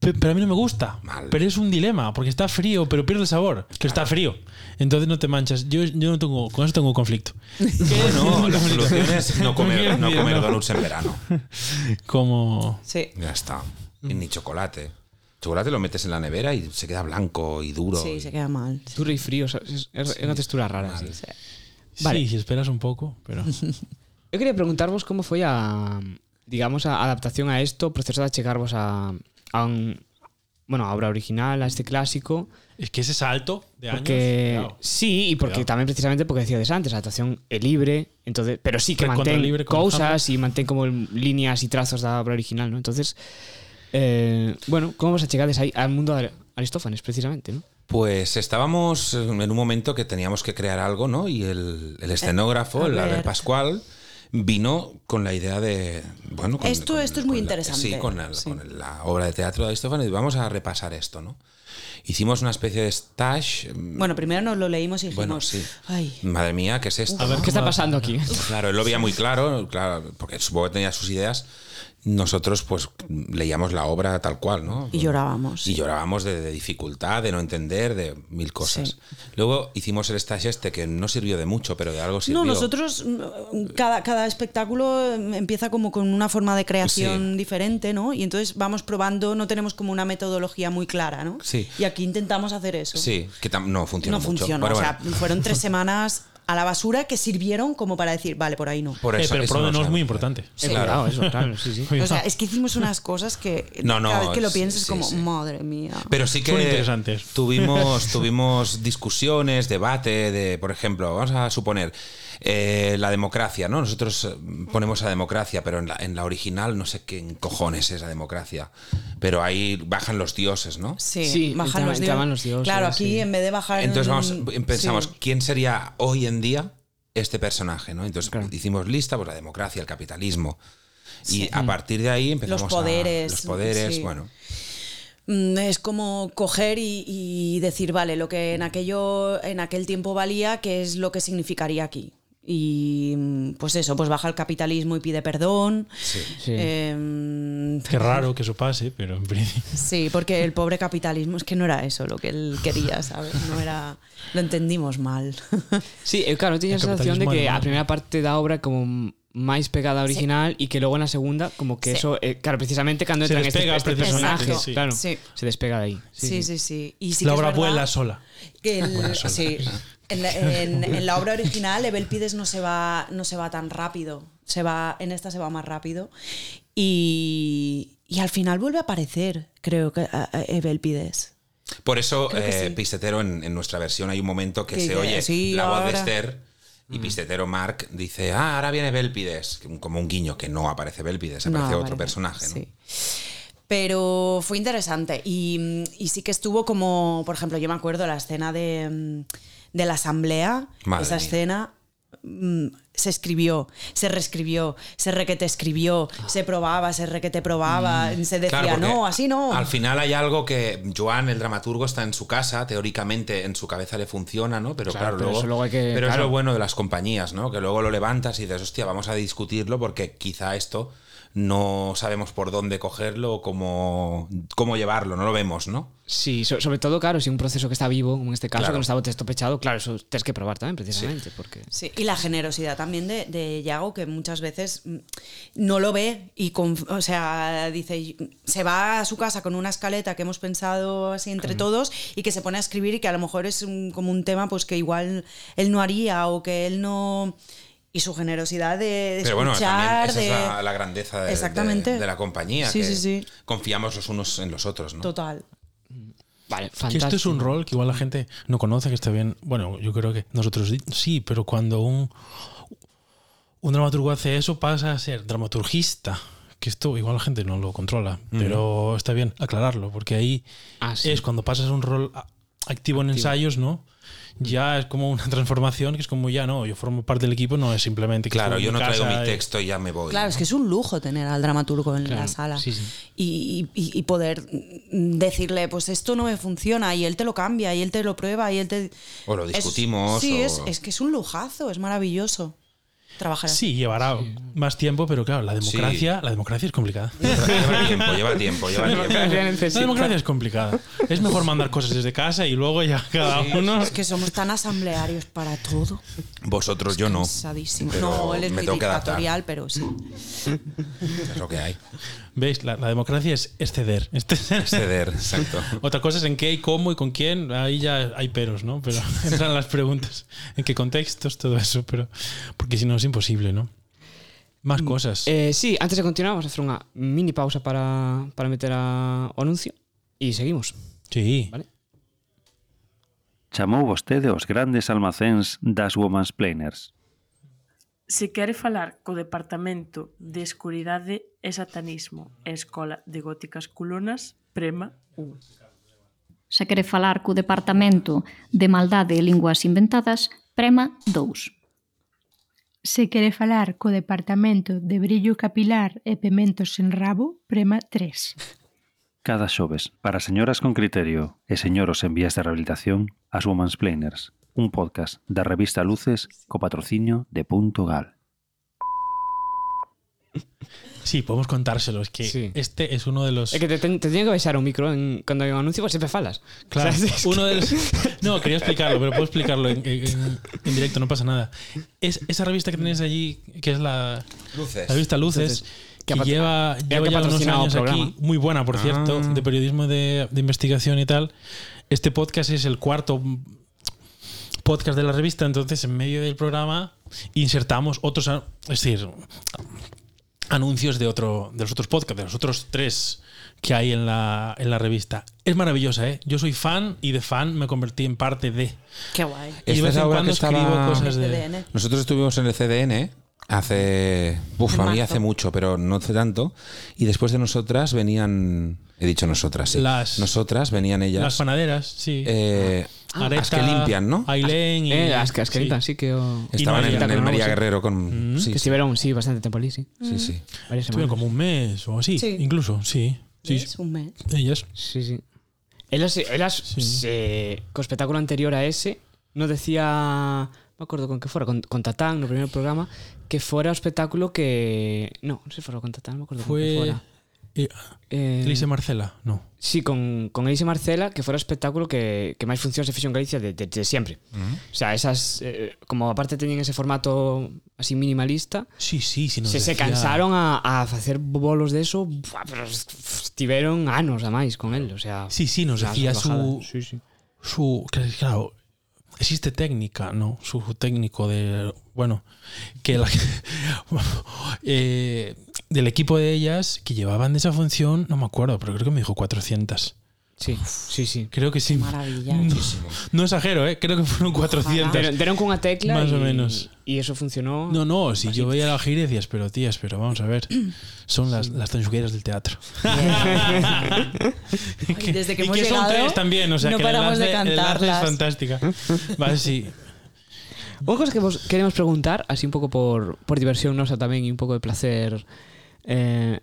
A: Pe- Pero a mí no me gusta.
C: Mal.
A: Pero es un dilema, porque está frío, pero pierde el sabor. Pero está frío. Entonces no te manchas. Yo, yo no tengo, con eso tengo conflicto.
C: No, la solución es no
A: Mira,
C: comer, no
A: mira,
C: comer
A: no.
C: donuts en verano.
A: Como.
D: Sí.
C: Ya está. Y Ni chocolate. Chocolate lo metes en la nevera y se queda blanco y duro.
D: Sí, se queda mal. Sí.
B: Duro y frío, o sea, es, es una textura rara. sí. Vale.
A: Sí, si esperas un poco, pero.
B: Eu quería preguntarvos como foi a digamos a adaptación a isto, o proceso de achegarvos a a un bueno, a obra original, a este clásico,
A: Es que ese salto de años.
B: porque
A: cuidado.
B: sí, e porque
A: Cuidado.
B: tamén precisamente porque decíades antes, a adaptación é libre, entonces, pero sí que
A: Recontra
B: mantén
A: libre como
B: cousas e mantén como líneas e trazos da obra original, ¿no? Entonces, eh, bueno, como vos achegades aí al mundo de Aristófanes precisamente, ¿no?
C: Pues estábamos en un momento que teníamos que crear algo, ¿no? Y el, el escenógrafo,
D: Eh, a
C: el Albert
D: ver.
C: Pascual, vino con la idea de. Bueno, con-
D: Esto-
C: con-
D: esto es muy
C: con la-
D: interesante.
C: sí, con, el-
D: Sí.
C: con el- la obra de teatro de Aristófanes, y vamos a repasar esto, ¿no? Hicimos una especie de stash. mm,
D: Bueno, primero nos lo leímos y dijimos,
C: Bueno, sí.
D: ay,
C: Madre mía, ¿qué es esto?
A: A ver,
B: ¿Qué está
A: ¿cómo-
B: pasando aquí?
C: Claro, él lo veía muy claro, claro, porque supongo que tenía sus ideas. Nosotros, pues, leíamos la obra tal cual, ¿no?
D: y llorábamos.
C: Y llorábamos de, de dificultad, de no entender, de mil cosas. Luego hicimos el stage este que no sirvió de mucho, pero de algo sirvió.
D: No, nosotros mm, cada, cada espectáculo mm, empieza como con una forma de creación
C: Sí.
D: diferente, ¿no? Y entonces vamos probando, no tenemos como una metodología muy clara, ¿no?
C: Sí.
D: Y aquí intentamos hacer eso.
C: Sí, que tam- no funcionó
D: No
C: mucho.
D: funcionó.
C: Pero
D: o
C: bueno,
D: sea, fueron tres semanas a la basura que sirvieron como para decir, vale, por ahí no.
C: por
A: Eh,
C: eso-
A: pero
C: eso
A: Prode no
C: lo
A: es muy
C: sabemos.
A: importante.
B: Eh,
C: claro.
B: Cuidado, eso, claro, sí, sí.
D: O sea, es que hicimos unas cosas que
C: No, no,
D: cada vez que lo
C: sí,
D: piensas
C: sí,
D: como,
C: sí.
D: madre mía.
C: Pero sí que
A: Son interesantes.
C: tuvimos tuvimos discusiones, debate de, por ejemplo, vamos a suponer eh, la democracia, ¿no? Nosotros eh, ponemos la democracia, pero en la, en la original no sé qué en cojones es la democracia, pero ahí bajan los dioses, ¿no?
D: sí,
B: Sí,
D: bajan
B: entraba-
D: los,
B: entraban los dioses,
D: Claro, aquí
B: sí.
D: en vez de bajar.
C: Entonces vamos,
D: mm,
C: pensamos,
D: sí.
C: ¿quién sería hoy en día este personaje? ¿no? Entonces
B: Claro.
C: hicimos lista, pues la democracia, el capitalismo. Y a partir de ahí empezamos a-
D: poderes,
C: los poderes,
D: sí.
C: bueno.
D: mm, es como coger y, y decir, vale, lo que en, aquello, en aquel tiempo valía, ¿qué es lo que significaría aquí? Y mm, pues eso, pues baja el capitalismo y pide perdón.
B: Sí.
D: Eh, Em,
A: Qué raro que eso pase, pero en principio.
D: Sí, porque el pobre capitalismo es que no era eso lo que él quería, ¿sabes? No era. Lo entendimos mal.
B: Sí, eh, claro, tiña a
A: El
B: sensación de
A: capitalismo
B: que
A: alemán.
B: a primeira parte da obra como máis pegada ao original e que logo na segunda como que
D: Sí.
B: eso eh, claro, precisamente cando
A: Se
B: entran este,
A: despega
B: este
A: precisamente,
B: personaje,
A: sí.
B: claro,
D: Sí.
B: se despega de aí.
D: Sí, sí, sí. Y sí
A: la
D: que es
A: obra
D: verdad
A: vuela sola.
D: que el-
A: Vuela sola.
D: sí, en, la, en- en la obra original, Evelpides no se va, no se va tan rápido. Se va, en esta se va más rápido. Y, y al final vuelve a aparecer, creo que a- a Evelpides.
C: Por eso,
D: Creo que
C: eh,
D: sí.
C: Pistetero, en, en nuestra versión hay un momento que,
D: Que
C: se
D: dice,
C: oye
D: "Sí,
C: la voz de
D: ahora". Mm.
C: Esther y Pistetero Mark dice, ah, ahora viene Belpides, que un- como un guiño que no aparece Belpides,
D: No,
C: aparece otro
D: vale,
C: personaje. ¿no?
D: sí. Pero fue interesante y, mm, y sí que estuvo como, por ejemplo, yo me acuerdo la escena de, mm, de la asamblea,
C: Madre
D: esa
C: mía.
D: escena mm, se escribió, se reescribió, se requete escribió, se probaba, se requete probaba, se decía,
C: Ah. Mm, Claro, porque
D: no, así no.
C: Al final hay algo que Joan, el dramaturgo, está en su casa, teóricamente en su cabeza le funciona, ¿no? Pero
B: Claro,
C: claro,
B: pero
C: luego.
B: eso luego hay que-
C: pero es
B: claro.
C: lo bueno de las compañías, ¿no? Que luego lo levantas y dices, hostia, vamos a discutirlo porque quizá esto no sabemos por dónde cogerlo o cómo, cómo llevarlo, no lo vemos, ¿no?
B: Sí, so- sobre todo, claro, si un proceso que está vivo, como en este caso,
C: Claro.
B: que non estaba o texto pechado, claro, eso tens que probar tamén, precisamente, sí. porque...
D: Sí, y la generosidad también de, de Yago, que muchas veces mm, no lo ve y, conf- o sea, dice, se va a su casa con una escaleta que hemos pensado así entre todos y que se pone a escribir y que a lo mejor es un- como un tema pues que igual él no haría o que él no... Y su generosidad de, de
C: Pero bueno,
D: escuchar,
C: también esa
D: de...
C: es la, la grandeza de,
D: Exactamente.
C: de- de la compañía.
D: Sí,
C: que
D: sí, sí.
C: Confiamos los unos en los otros, ¿no?
D: Total.
B: Vale,
A: Que
B: fantástico.
A: esto es un rol que igual la gente no conoce, que está bien. Bueno, yo creo que nosotros di- sí, pero cuando un, un dramaturgo hace eso pasa a ser dramaturgista. Que esto igual la gente no lo controla, pero está bien aclararlo, porque ahí
B: Ah, sí.
A: es cuando pasas un rol a- activo en ensayos, ¿no? Ya es como una transformación, que es como ya no, yo formo parte del equipo, no es simplemente que
C: Claro,
A: estoy
C: yo
A: en
C: no traigo
A: casa
C: mi
A: y-
C: texto y ya me voy.
D: Claro,
C: ¿no?
D: es que es un lujo tener al dramaturgo en
B: Claro,
D: la sala
B: sí, sí.
D: Y, y- y poder mm, decirle, pues esto no me funciona y él te lo cambia y él te lo prueba y él te...
C: O lo
D: Es-
C: discutimos,
D: sí,
C: o-
D: es, es que es un lujazo, es maravilloso trabajar así.
A: Sí, llevará más tiempo, pero claro, la democracia, la democracia es complicada.
C: Lleva tiempo, lleva tiempo, lleva tiempo.
A: La democracia es complicada. Es mejor mandar cosas desde casa y luego ya cada uno.
D: Es que somos tan asamblearios para todo.
C: Vosotros, yo no.
D: Cansadísimo.
C: Pero
D: no, él es
C: me tengo que adaptar.
D: dictatorial, pero sí.
C: Es lo que hay.
A: ¿Veis? La, la democracia es exceder.
C: Ceder, exacto.
A: Otra cosa es en qué y cómo y con quién. Ahí ya hay peros, ¿no? Pero entran las preguntas. En qué contextos, todo eso. pero Porque si no es imposible, ¿no? Más cosas.
B: Eh, sí, antes de continuar, vamos a hacer unha mini pausa para, para meter a, o anuncio e seguimos.
A: Sí.
B: Vale.
E: Chamou vostede os grandes almacéns das Woman's Planers.
F: Se quere falar co Departamento de Escuridade e Satanismo e Escola de Góticas Culonas, prema 1.
G: Se quere falar co Departamento de Maldade e Linguas Inventadas, prema 2.
H: Se quere falar co Departamento de Brillo Capilar e Pementos sen Rabo, prema 3.
E: Cada xoves, para señoras con criterio e señoros en vías de rehabilitación, as Woman's Planers, un podcast da revista Luces co patrocinio de Punto Gal.
A: Sí, podemos contárselo. Es que
B: Sí.
A: este es uno de los.
B: É que te, ten, te tiñen que baixar o micro en, cando hai un anuncio, pois sempre falas.
A: Claro,
B: O sea, es que-
A: uno de los- No, quería explicarlo, pero puedo explicarlo en, en- en directo, no pasa nada. Es, esa revista que tenéis allí, que es la,
C: Luces.
A: la revista Luces,
B: Entonces,
A: que,
B: que ha pat-
A: lleva,
B: que
A: lleva ya
B: ha
A: unos
B: patrocinado
A: años
B: el programa. Ah.
A: aquí, muy buena, por cierto, de periodismo de, de investigación y tal. Este podcast es el cuarto podcast de la revista, entonces en medio del programa insertamos otros, a- es decir, anuncios de otro de los otros podcasts, de los otros tres que hay en la, en la revista. Es maravillosa, ¿eh? Yo soy fan y de fan me convertí en parte de.
D: Qué guay.
A: Y de vez en cuando escribo cosas de...
D: CDN.
C: Nosotros estuvimos en el CDN hace. Uf,
D: En
C: a mí
D: marzo.
C: hace mucho, pero no hace tanto. Y después de nosotras venían. He dicho nosotras, sí.
A: Las-
C: nosotras venían
A: Las
C: ellas.
A: panaderas, sí.
C: eh,
D: Ah.
C: las que limpian, ¿no?
A: Ailén y...
B: Eh, as que as que limpan, sí que o...
A: Y
C: Estaban
A: María,
C: en, en el
B: ¿no?
C: María
B: Sí.
C: Guerrero con.
D: Mm,
C: sí,
B: que
C: sí,
B: estiveron, sí, bastante tempo ali, sí.
C: sí, sí.
B: Varias
A: Estuvieron
B: semanas.
A: como un mes o así,
D: Sí.
A: incluso, sí. Sí,
D: Es un mes.
A: Ellas.
B: Sí, sí. Elas, elas se, co espectáculo anterior a ese no decía me acordo con que fora, con, con Tatán no primeiro programa que fora o espectáculo que no, non sei se fora con Tatán, non me acordo con que
A: Fue.
B: fora
A: eh,
B: eh,
A: Elise Marcela, no.
B: Sí, con, con Elise Marcela, que fora o espectáculo que, que máis funcións se fixo en Galicia desde de, de sempre. O sea, esas, eh, como aparte teñen ese formato así minimalista,
A: Sí, sí, sí. nos
B: se, se
A: decía-
B: cansaron a, a facer bolos de eso, buah, pero tiveron anos a máis con el, o sea...
A: Sí, sí, nos
B: nas
A: decía su,
B: bajadas. Sí, sí.
A: su que, claro existe técnica no su técnico de bueno que la- eh, del equipo de ellas que llevaban de esa función no me acuerdo pero creo que me dijo 400
B: Sí, sí, sí.
A: creo que sí
D: Maravilla.
A: no, no exagero eh creo que fueron 400
B: Deron, deron cunha tecla
A: Más
B: y,
A: o menos.
B: Y eso funcionó.
A: no, no, si yo veía la gira y decías, pero tías, pero vamos a ver, son las, las tanchugueras del teatro.
D: Ay, Desde que
A: y
D: hemos
A: que
D: llegado,
A: son tres también, o sea,
D: no
A: que el
D: paramos de
A: enlace- el enlace es
D: cantarlas.
A: fantástica. Vale, sí,
B: Unha cosa que vos queremos preguntar, así un pouco por, por diversión nosa tamén e un pouco de placer eh,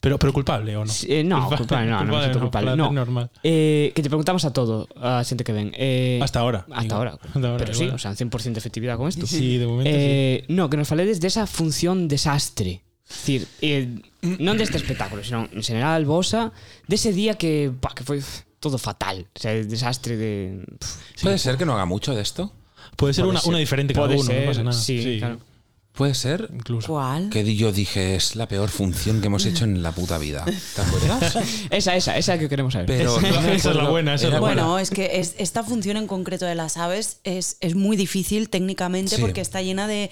A: pero, pero culpable o no.
B: Sí, eh, no, culpable, no, no me siento culpable.
A: placer
B: No.
A: normal.
B: Eh, que te preguntamos a todo, a xente que ven. Eh,
A: Hasta ahora.
B: Hasta
A: digo.
B: ahora.
A: Hasta ahora,
B: Pero sí,
A: igual.
B: o sea, 100% de efectividad con esto.
A: Sí, de momento
B: eh, No, que nos faledes desa función desastre. Es decir, eh, non deste espectáculo, sino en general vosa, dese día que, pa, que foi todo fatal. O sea, desastre de... Pff,
C: ¿Puede ser que no haga mucho de esto?
A: sí. Puede ser
B: pode
A: una,
B: ser-
A: una diferente cada
B: pode
A: uno,
B: ser,
A: no pasa nada.
B: Sí, claro.
C: ¿Puede ser?
A: Incluso.
D: ¿Cuál?
C: Que di- yo dije, es la peor función que hemos hecho en la puta vida. ¿Te acuerdas?
B: Esa, esa, esa que queremos saber.
C: Pero
A: Esa es la-
C: no me
A: esa es la
C: acuerdo.
A: buena, esa es la
C: Era
A: buena.
D: Bueno, es que es- esta función en concreto de las aves es, es muy difícil técnicamente
C: Sí.
D: porque está llena de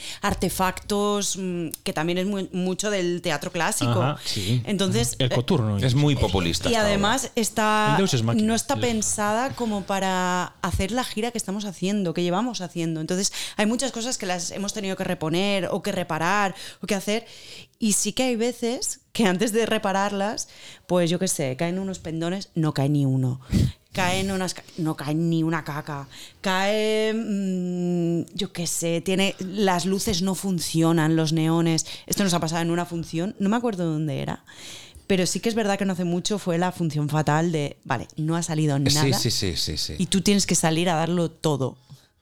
D: artefactos mm, que también es muy- mucho del teatro clásico.
A: Ajá,
B: sí.
D: Entonces, eh,
A: El coturno.
C: Es muy populista.
D: y
C: hasta
D: además
A: El
D: está,
A: Deus es máquina.
D: no está
A: El-
D: pensada como para hacer la gira que estamos haciendo, que llevamos haciendo. Entonces hay muchas cosas que las hemos tenido que reponer o que reparar o que hacer. Y sí que hay veces que antes de repararlas, pues yo qué sé, caen unos pendones, no cae ni uno. Caen unas, ca- no cae ni una caca. Cae, mm, yo qué sé, tiene, las luces no funcionan, los neones. Esto nos ha pasado en una función, no me acuerdo dónde era. Pero sí que es verdad que no hace mucho fue la función fatal de, vale, no ha salido
C: ahora.
D: nada
C: Sí, sí, sí, sí, sí.
D: y tú tienes que salir a darlo todo.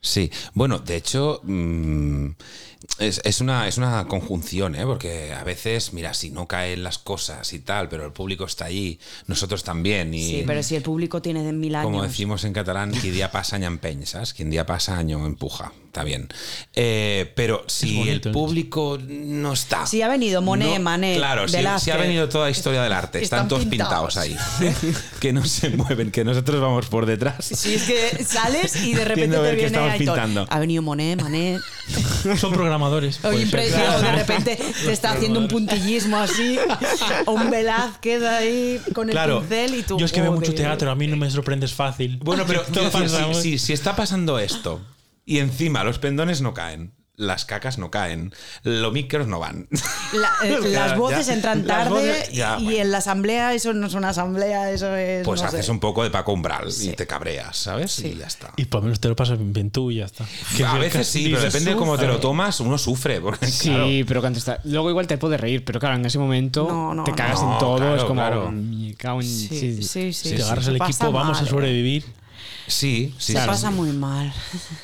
C: Sí, bueno, de hecho, mm, es, es una, es una conjunción, ¿eh? porque a veces, mira, si no caen las cosas y tal, pero el público está allí, nosotros también, y
D: Sí, pero si el público tiene de mil años.
C: como decimos en catalán, quien día pasa año empeny, ¿sabes? Quien día pasa año em empuja, está bien. Eh, pero si
A: bonito, ¿eh?
C: el público no está...
D: Si ha venido Monet, Manet,
C: Claro, si,
D: Velázquez.
C: si ha venido toda la historia del arte, están,
D: Están
C: todos pintados,
D: pintados.
C: ahí, que no se mueven, que nosotros vamos por detrás.
D: Si es que sales y de repente
C: Viendo a ver
D: te
C: qué
D: viene
C: estamos
D: Aitor.
C: pintando. Pues
D: Ha venido Monet, Manet.
A: Son programadores.
D: O
A: puede ser.
D: impresionado, de repente te está haciendo un puntillismo así. O un Velázquez ahí con el
C: Claro.
D: pincel y tú.
A: Yo es que veo mucho
D: joder.
A: teatro, a mí no me sorprendes fácil.
C: Bueno, pero
A: Todo
C: quiero decir,
A: pasa,
C: si,
A: ¿eh?
C: si- si está pasando esto y encima los pendones no caen, las cacas no caen, los micros no van.
D: La- eh,
C: O sea,
D: las voces
C: ya-
D: entran
C: las
D: tarde
C: voces- ya,
D: y
C: bueno.
D: en la asamblea eso no es una asamblea, eso es.
C: Pues
D: no
C: haces
D: sé.
C: un poco de Paco Umbral y te cabreas, ¿sabes? Y ya está.
A: Y por lo menos te lo pasas bien tú y ya está. Que
C: a
A: si el
C: veces sí,
A: castillo
C: pero
A: se
C: depende de cómo te lo
A: sufre.
C: tomas, uno sufre. Porque,
B: Sí,
C: claro,
B: pero que antes está. Luego igual te puedes reír, pero claro, en ese momento
D: No, no,
B: te cagas
C: no.
B: en todo,
C: Claro,
B: es como.
C: claro.
B: "Me cago en-".
D: Sí, sí, sí.
A: Si te agarras
D: se
A: el
D: pasa
A: equipo, vamos
D: mal, ¿eh?
A: a sobrevivir.
C: sí, sí,
D: Se
C: sí,
D: pasa muy mal.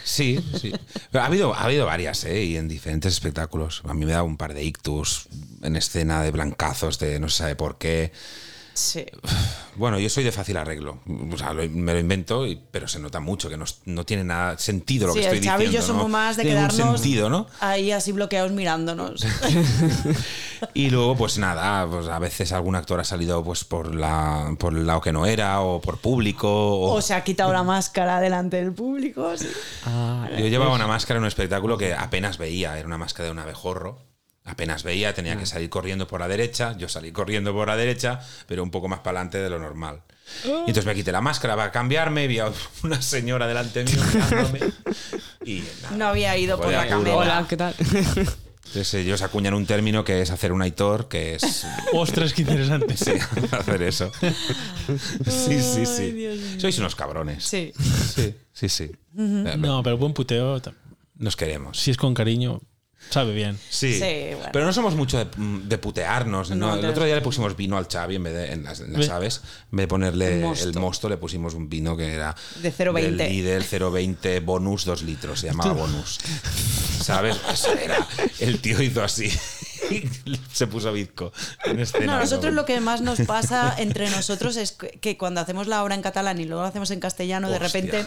C: sí, sí. Pero ha habido, ha habido varias, ¿eh? Y en diferentes espectáculos. A mí me da un par de ictus en escena de blancazos de no se sabe por qué.
D: Sí.
C: Bueno, yo soy de fácil arreglo. O sea, lo- me lo invento, y- pero se nota mucho que no, es- no tiene nada sentido lo
D: Sí,
C: que estoy
D: el Xavi y yo
C: diciendo. ¿no?
D: somos más de
C: Tiene un
D: quedarnos-
C: sentido, ¿no?
D: Ahí así bloqueados mirándonos.
C: Y luego, pues nada, pues a veces algún actor ha salido pues por la por el lado que no era, o por público. O,
D: O se ha quitado la máscara delante del público. sí.
B: Ah,
C: yo llevaba una máscara en un espectáculo que apenas veía, era una máscara de un abejorro. Apenas veía, tenía que salir corriendo por la derecha, yo salí corriendo por la derecha, pero un poco más para adelante de lo normal. Y entonces me quité la máscara para cambiarme, vi a una señora delante mío mirándome. Y nada.
D: No había ido por
C: Podía
D: la
C: haber-
D: cámara.
B: Hola, ¿qué tal?
C: Entonces eh, ellos acuñan un término que es hacer un Aitor, que es
A: Ostras, qué interesante.
C: sí, hacer eso. Sí, sí, sí. Sois unos cabrones.
D: Sí.
C: sí, sí. sí.
A: No, pero buen puteo,
C: Nos queremos.
A: si es con cariño, Sabe bien.
C: Sí.
D: Sí, bueno.
C: Pero no somos mucho de, mm, de putearnos. ¿no?
D: No,
C: el
D: claro.
C: otro día le pusimos vino al Xavi en vez de en las, en las
A: Ve.
C: aves. En vez de ponerle
D: El
C: el
D: mosto.
C: mosto, le pusimos un vino que era
D: De 0,20.
C: del Lidl 020 bonus 2 litros. Se llamaba bonus. ¿Sabes? Eso era. El tío hizo así. Se puso bizco en escena.
D: No, nosotros lo que más nos pasa entre nosotros es que, que cuando hacemos la obra en catalán y luego la hacemos en castellano, de
C: Hostia.
D: repente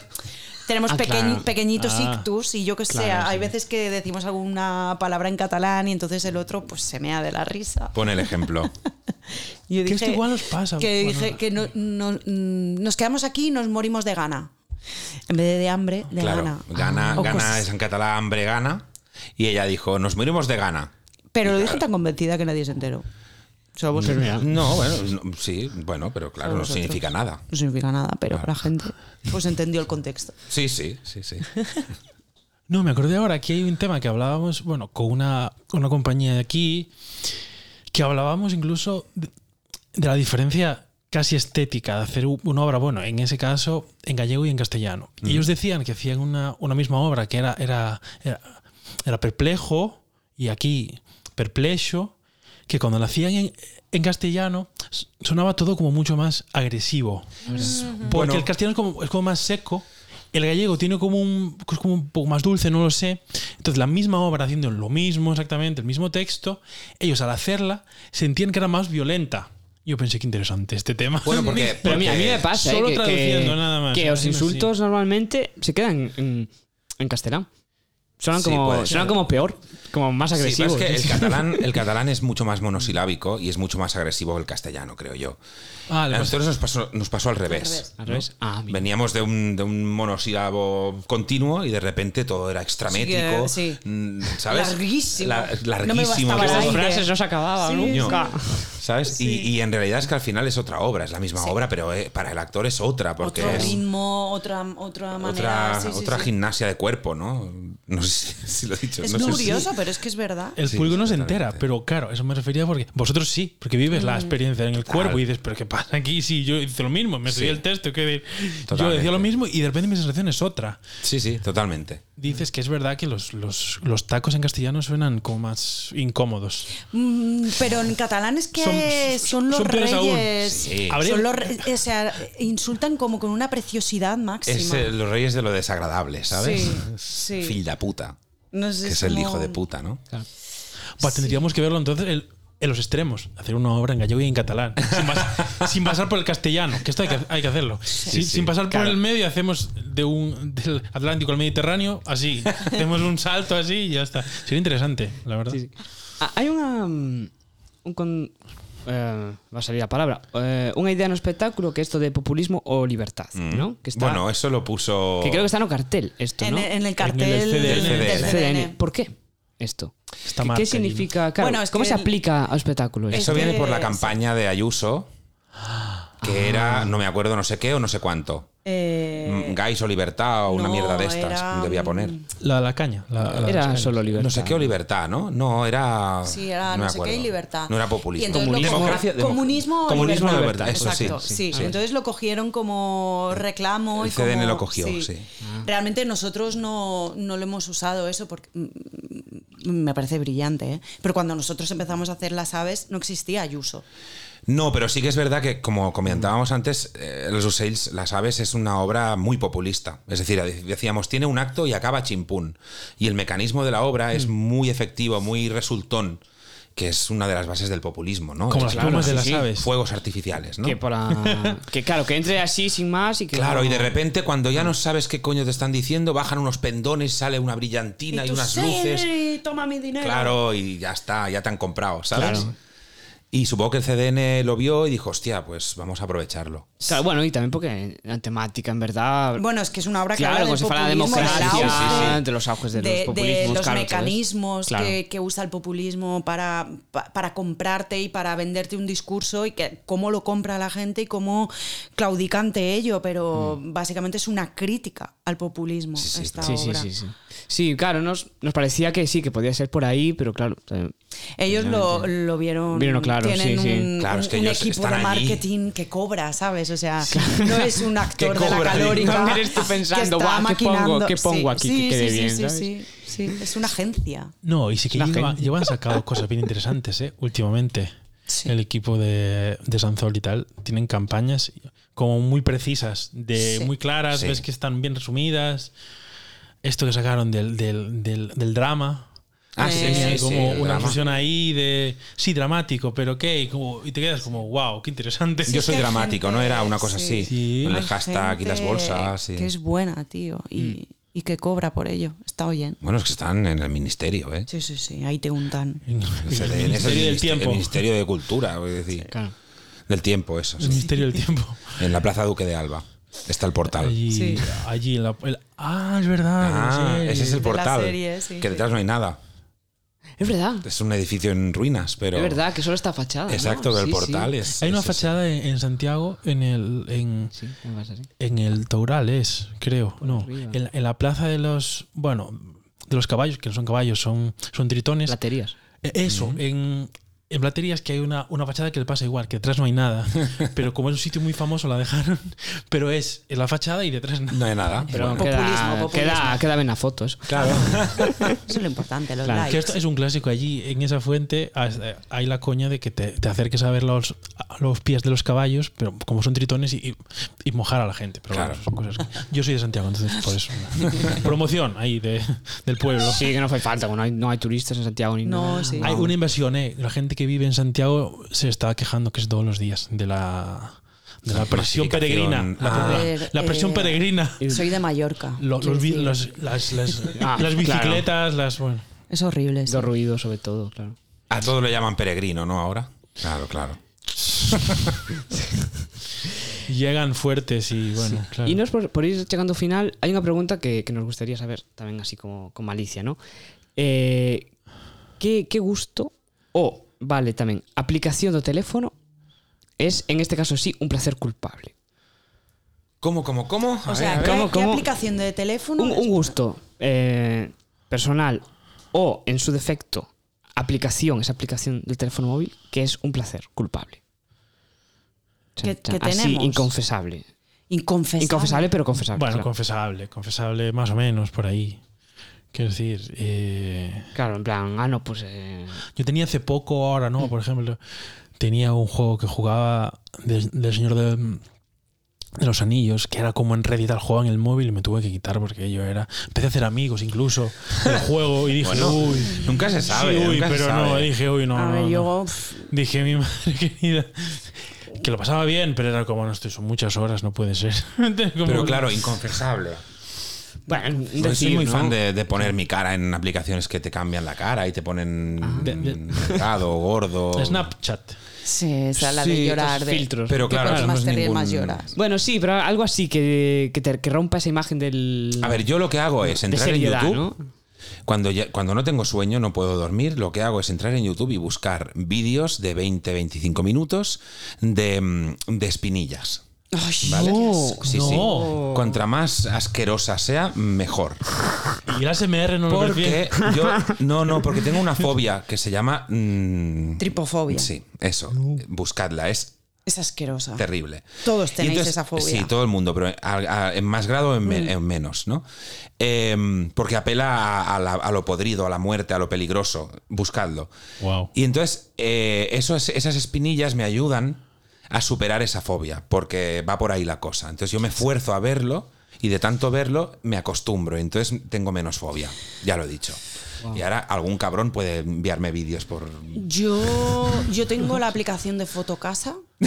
D: tenemos
B: Ah,
D: peque-
B: claro.
D: pequeñitos
A: Ah,
D: ictus y yo que sé,
B: claro,
D: hay
B: sí.
D: veces que decimos alguna palabra en catalán y entonces el otro pues se mea de la risa.
C: Pone el ejemplo.
D: Yo
A: Que esto
D: dije-
A: igual os pasa,
D: Que
A: bueno.
D: dije que no- no- mm, nos quedamos aquí y nos morimos de gana. En vez de, de hambre, de
C: claro.
D: gana.
C: Gana,
D: O
C: gana
D: cosas-
C: es en catalán, hambre, gana. Y ella dijo, nos morimos de gana.
D: Pero lo dije tan convencida que nadie se enteró. Solo vosotros.
B: Pues mira,
C: No, bueno, no- sí, bueno, pero claro,
D: Solo
C: no
D: vosotros.
C: significa nada.
D: No significa nada, pero
C: Claro.
D: la gente pues entendió el contexto.
C: Sí, sí, sí, sí.
A: No, me acordé ahora que hay un tema que hablábamos, bueno, con una, con una compañía de aquí, que hablábamos incluso de, de la diferencia casi estética de hacer u- una obra, bueno, en ese caso, en gallego y en castellano. Y ellos decían que hacían una, una misma obra que era, era, era, era perplejo y aquí perplejo, que cuando la hacían en, en castellano s- sonaba todo como mucho más agresivo. Porque
C: Bueno.
A: el castellano es como, es como más seco. El gallego tiene como un, es como un poco más dulce, no lo sé. Entonces, la misma obra, haciendo lo mismo exactamente, el mismo texto, ellos al hacerla sentían que era más violenta. Yo pensé que interesante este tema.
C: Bueno, porque,
B: Pero mira, a mí
C: porque-
B: me pasa
A: Solo
B: eh, que, que,
A: traduciendo nada más,
B: que
C: ¿eh?
B: los
A: imagino,
B: insultos normalmente se quedan en, en castellano. Sonan,
C: Sí,
B: como,
C: puede
B: sonan
C: ser.
B: como peor, como más
C: Sí, pero
B: agresivos.
C: es que el catalán, el catalán es mucho más monosilábico y es mucho más agresivo que el castellano, creo yo.
A: Ah,
C: A
A: le pasa-
C: nosotros nos pasó, nos pasó al revés.
D: revés.
B: Al revés. Ah, mira.
C: Veníamos de un, de un monosílabo continuo y de repente todo era extramétrico.
D: Sí que- sí.
C: mm, ¿Sabes?
D: Larguísimo.
C: La-
D: No me
C: larguísimo.
D: bastaba el
B: Las
D: aire.
B: frases no se acababan
D: Sí,
B: nunca.
C: ¿Sabes? Y, y en realidad es que al final es otra obra, es la misma obra, pero eh, para el actor es otra, porque
D: otro
C: es
D: ritmo, otra, otra manera.
C: otra,
D: sí, sí,
C: otra
D: sí.
C: gimnasia de cuerpo, ¿no? No sé si, si lo he dicho.
D: Es
C: no sé si- Eh,
D: curioso, pero es que es verdad.
A: El
C: Sí,
A: pulgo no se
C: totalmente.
A: entera, pero claro, eso me refería porque vosotros sí, porque vives la experiencia en el
C: Total.
A: cuerpo y dices, pero ¿qué pasa aquí? Sí, yo hice lo mismo, me subí
C: Sí.
A: el texto, que de- yo
C: Totalmente.
A: decía lo mismo y de repente mi sensación es otra.
C: Sí, sí, totalmente.
A: Dices que es verdad que los, los, los tacos en castellano suenan como más incómodos.
D: Mm, pero en catalán es que son,
A: Son-
D: los
A: son peores aún.
D: reyes.
C: Sí.
A: Habría-
D: Son los re- o sea, insultan como con una preciosidad máxima.
C: Es eh, los reyes de lo desagradable, ¿sabes?
D: Sí,
C: Es
D: sí.
C: Fil de puta.
D: No sé,
C: Que es el
D: como-
C: hijo de puta, ¿no?
A: Buah, Pues tendríamos que verlo entonces el- en los extremos, hacer una obra en gallego y en catalán, sin, pas- sin pasar por el castellano, que esto hay que, hay que hacerlo. sin,
C: sí.
A: sin pasar por el medio, hacemos de un, del Atlántico al Mediterráneo, así, hacemos un salto así y ya está. Sería interesante, la verdad.
B: Sí, sí. Ah, Hay una. mm, Un con- eh, va a salir la palabra. Eh, una idea en un espectáculo que es esto de populismo o libertad, ¿no? Que está-
C: Mm. Bueno, eso lo puso.
B: que creo que está en un cartel esto,
D: En,
B: ¿no?
D: en el
A: En
D: cartel
A: el
D: del
A: CDN.
D: del
B: CDN.
D: CDN.
B: ¿Por qué esto?
A: Esta
B: ¿Qué- ¿Qué,
A: marca allí, ¿no?
B: significa? Claro,
D: Bueno, es
B: ¿Cómo
D: que
B: se
D: el-
B: aplica al espectáculo esto?
C: Eso
D: Es
C: viene
D: que-
C: por la campaña de Ayuso, que era, no me acuerdo, no sé qué o no sé cuánto.
D: Eh,
C: Mm, Gays o libertad o una
D: no,
C: mierda de estas,
D: era, mm,
C: debía poner.
A: La de la caña. la- la-
B: Era solo libertad.
C: No sé qué o libertad, ¿no? No, era.
D: Sí, era
C: me
D: no sé qué
C: acuerdo.
D: y libertad.
C: No era
D: Y
C: populismo.
D: entonces lo
B: Comunismo.
D: co-
C: Democracia- demo-
D: comunismo, o
C: Comunismo o
D: libertad.
C: libertad, eso
D: Exacto,
C: sí.
D: sí. Entonces lo cogieron como reclamo. y
C: El CDN
D: como-
C: lo cogió, sí.
B: Ah.
D: Realmente nosotros no, no lo hemos usado eso porque mm, me parece brillante. ¿eh? Pero cuando nosotros empezamos a hacer las aves no existía Ayuso.
C: No, pero sí que es verdad que, como comentábamos antes, eh, Los Usails, Las Aves, es una obra muy populista. Es decir, decíamos, tiene un acto y acaba chimpún. Y el mecanismo de la obra es
A: Mm.
C: muy efectivo, muy resultón, que es una de las bases del populismo, ¿no?
A: Como
C: Es
A: las
C: decir,
A: plumas de
B: sí,
A: las
B: sí.
A: aves.
C: Fuegos artificiales, ¿no?
B: Que, para, que claro, que entre así sin más y que.
C: Claro,
B: no-
C: y de repente cuando
A: Ah.
C: ya no sabes qué coño te están diciendo, bajan unos pendones, sale una brillantina y,
D: tú,
C: unas
D: "Sí,
C: luces.
D: toma mi dinero.
C: Claro, y ya está, ya te han comprado, ¿sabes?
B: Claro.
C: Y supongo que el CDN lo vio y dijo, hostia, pues vamos a aprovecharlo.
B: Claro, bueno, y también porque la temática, en verdad.
D: Bueno, es que es una obra que
B: Claro,
D: habla
B: como
D: del
B: si fuera la
D: populismo, del
B: democracia,
D: auge,
B: de los auges Ah, pues de los populismos,
D: los
B: claro, todo eso.
D: mecanismos
B: Claro.
D: que, que usa el populismo para, pa- para comprarte y para venderte un discurso y que cómo lo compra la gente y cómo claudicante ello, pero básicamente es una crítica al populismo
C: Sí, sí,
D: esta
B: Mm. sí, sí,
D: obra.
B: sí, sí. Sí, claro, nos, nos parecía que sí, que podía ser por ahí, pero claro. también-
D: Ellos lo, lo vieron,
B: Vieron claro,
D: tienen
B: sí, sí.
D: un,
C: Claro, es
D: un-
C: que
D: un
C: ellos
D: equipo
C: están
D: de
C: allí.
D: marketing que cobra, ¿sabes? O sea, no es un actor
C: Que
D: de la
C: cobra, digo.
D: calórica
B: También estoy
D: que
B: pensando,
D: está
B: "Buah, ¿qué pongo-
D: maquinando".
B: qué pongo aquí que quede bien,
D: sí,
B: ¿sabes?
D: sí. Sí, es una agencia.
A: No, y sí que
B: La
A: lleva-
B: gente.
A: llevan sacado cosas bien interesantes, ¿eh? Últimamente.
D: Sí.
A: El equipo de, de Sanzol y tal tienen campañas como muy precisas, de
D: Sí.
A: muy claras,
C: Sí.
A: ves que están bien resumidas. Esto que sacaron del, del, del, del drama.
C: Ah,
D: Eh,
C: sí,
A: Tenía
C: sí,
A: ahí
C: sí,
A: como
C: el
A: una
C: drama.
A: fusión ahí de sí, dramático, pero qué, y como- y te quedas como, wow, qué interesante.
C: Yo
D: es
C: soy
D: que hay
C: dramático,
D: gente-
C: ¿no? Era una cosa
D: sí.
C: así.
A: Sí.
C: Con el
D: Hay
C: hashtag y las
D: gente
C: bolsas. y- Mm.
D: Que es buena, tío, y, y que cobra por ello. Está bien.
C: Bueno, es que están en el ministerio, ¿eh?
D: Sí, sí, sí, ahí te untan.
C: O sea,
A: el
C: de- en ese
A: Ministerio del
C: ministe-
A: Tiempo.
C: El Ministerio de Cultura, voy a decir.
B: Claro.
C: Del tiempo, eso.
A: El
C: sí.
A: Ministerio del Tiempo.
C: En la Plaza Duque de Alba. Está el portal.
A: Allí,
D: Sí.
A: allí en la- el- ah, es verdad.
C: Ah,
A: la
C: ese es
D: De
C: el
D: la
C: portal.
D: serie, sí,
C: que
D: sí.
C: detrás no hay nada.
B: Es verdad.
C: Es un edificio en ruinas, pero.
B: Es verdad que solo está fachada. ¿no?
C: Exacto, que el
B: Sí, sí.
C: portal es.
A: Hay una
C: es ese.
A: fachada en, en Santiago, en el, en,
B: Sí, me pasa así.
A: en el Toural es, creo. no,
B: arriba.
A: en, en la plaza de los, bueno, de los caballos, que no son caballos, son, son tritones.
B: Platerías.
A: Eh, Eso, en, en Platerías que hay una, una fachada que le pasa igual, que detrás no hay nada. pero como es un sitio muy famoso la dejaron, pero es en la fachada y detrás nada.
C: No hay nada.
B: Pero
C: Bueno,
B: queda,
D: populismo.
B: queda, queda bien a fotos.
C: claro.
D: Eso es lo importante, los
B: Claro.
A: Que
D: likes.
A: esto Ah, es un clásico allí, en esa fuente has- eh, hay la coña de que te, te acerques a ver los, a los pies de los caballos, pero como son tritones, y, y- y mojar a la gente. Pero
C: Claro.
A: bueno, son cosas que- yo soy de Santiago, entonces por eso. Promoción ahí de- del pueblo.
B: Sí, que no fue falta, que no hay, no hay turistas en Santiago ni
D: No,
B: nada.
D: sí.
A: Hay una inversión, ¿eh? La gente que vive en Santiago se está quejando que es todos los días de la, de la presión peregrina.
C: Masificación.
A: La,
C: Ah.
A: la-
D: A ver,
A: la presión
D: eh,
A: peregrina.
D: Soy de Mallorca.
A: Lo-
D: quiero
A: los vi-
D: decir,
A: los- las, las-
B: Ah,
A: las
B: claro.
A: bicicletas, las. bueno.
D: es horrible. sí.
B: Los ruidos, sobre todo, claro.
C: A todo le llaman peregrino, ¿no? Ahora. Claro, claro.
A: llegan fuertes y bueno. claro.
B: Y nos por, por ir llegando al final, hay una pregunta que, que nos gustaría saber, también así como con malicia, ¿no? Eh, ¿qué, qué gusto o, vale, también, aplicación de teléfono es, en este caso sí, un placer culpable?
C: ¿Cómo, cómo, cómo? A
D: O
C: ver, a
D: sea,
C: ver.
D: ¿qué,
B: ¿cómo,
D: qué
B: cómo?
D: aplicación de teléfono?
B: Un, un gusto eh, personal o, en su defecto, aplicación, esa aplicación del teléfono móvil, que es un placer culpable.
D: Que-
B: Chan, chan.
D: que
B: Así,
D: tenemos.
B: inconfesable.
D: Inconfesable.
B: Inconfesable, pero
C: Ah,
B: confesable.
A: Bueno,
B: claro.
A: confesable, confesable más o menos por ahí. Quiero decir, eh,
B: Claro, en plan, ah, no, pues... eh,
A: yo tenía hace poco, ahora no, por ejemplo, tenía un juego que jugaba de- del Señor de, de los Anillos, que era como en Reddit al juego en el móvil y me tuve que quitar porque yo era. Empecé a hacer amigos incluso del juego y dije,
C: Bueno,
A: uy.
C: Nunca se sabe.
A: sí, uy,
C: nunca se
A: pero
C: sabe.
A: no, dije, uy, no.
D: A
A: no,
D: ver,
A: no.
D: yo. pff,
A: Dije, mi madre querida. Que lo pasaba bien, pero era como, no, estoy, son muchas horas, no puede ser. Como-
C: Pero claro, inconfesable.
B: Bueno,
C: Yo
B: decir,
C: soy muy
B: ¿no?
C: fan de, de poner mi cara en aplicaciones que te cambian la cara y te ponen
B: Ah.
A: De- de-
C: delgado, gordo.
A: Snapchat.
D: sí, o sea, la de
B: Sí,
D: llorar.
B: estos
D: De,
B: filtros.
C: Pero
D: que
C: claro,
D: cuanto más
C: no es
D: te ríes,
C: ningún-
D: más lloras.
B: Bueno, sí, pero algo así que, que, te- que rompa esa imagen del.
C: A ver, yo lo que hago es
B: de
C: entrar
B: seriedad,
C: en YouTube.
B: ¿no?
C: Cuando, ya- cuando no tengo sueño, no puedo dormir, lo que hago es entrar en YouTube y buscar vídeos de 20, 25 minutos de, mm, de espinillas.
D: Ay,
C: ¿Vale?
D: Dios.
C: sí, sí.
A: no.
C: Contra más asquerosa sea, mejor.
A: Y la SMR no lo ves
B: Pues
A: bien.
C: Porque yo. No, no, porque tengo una fobia que se llama. mm,
D: Tripofobia.
C: Sí, eso. Buscadla, es
D: Es asquerosa.
C: terrible.
D: Ah. Todos
C: Y
D: tenéis esa fobia. Mm.
C: Sí, todo el mundo, pero a- a- en más grado o en, me- en menos, ¿no? Em, porque apela a, a la- a lo podrido, a la muerte, a lo peligroso. Buscadlo.
A: Wow.
C: Y entonces, eh, esos- esas espinillas me ayudan a superar esa fobia, porque va por ahí la cosa. Entonces yo me esfuerzo a verlo y de tanto verlo me acostumbro, y entonces tengo menos fobia, ya lo he dicho. Y ahora algún cabrón puede enviarme vídeos por...
D: Yo, yo tengo la aplicación de Fotocasa.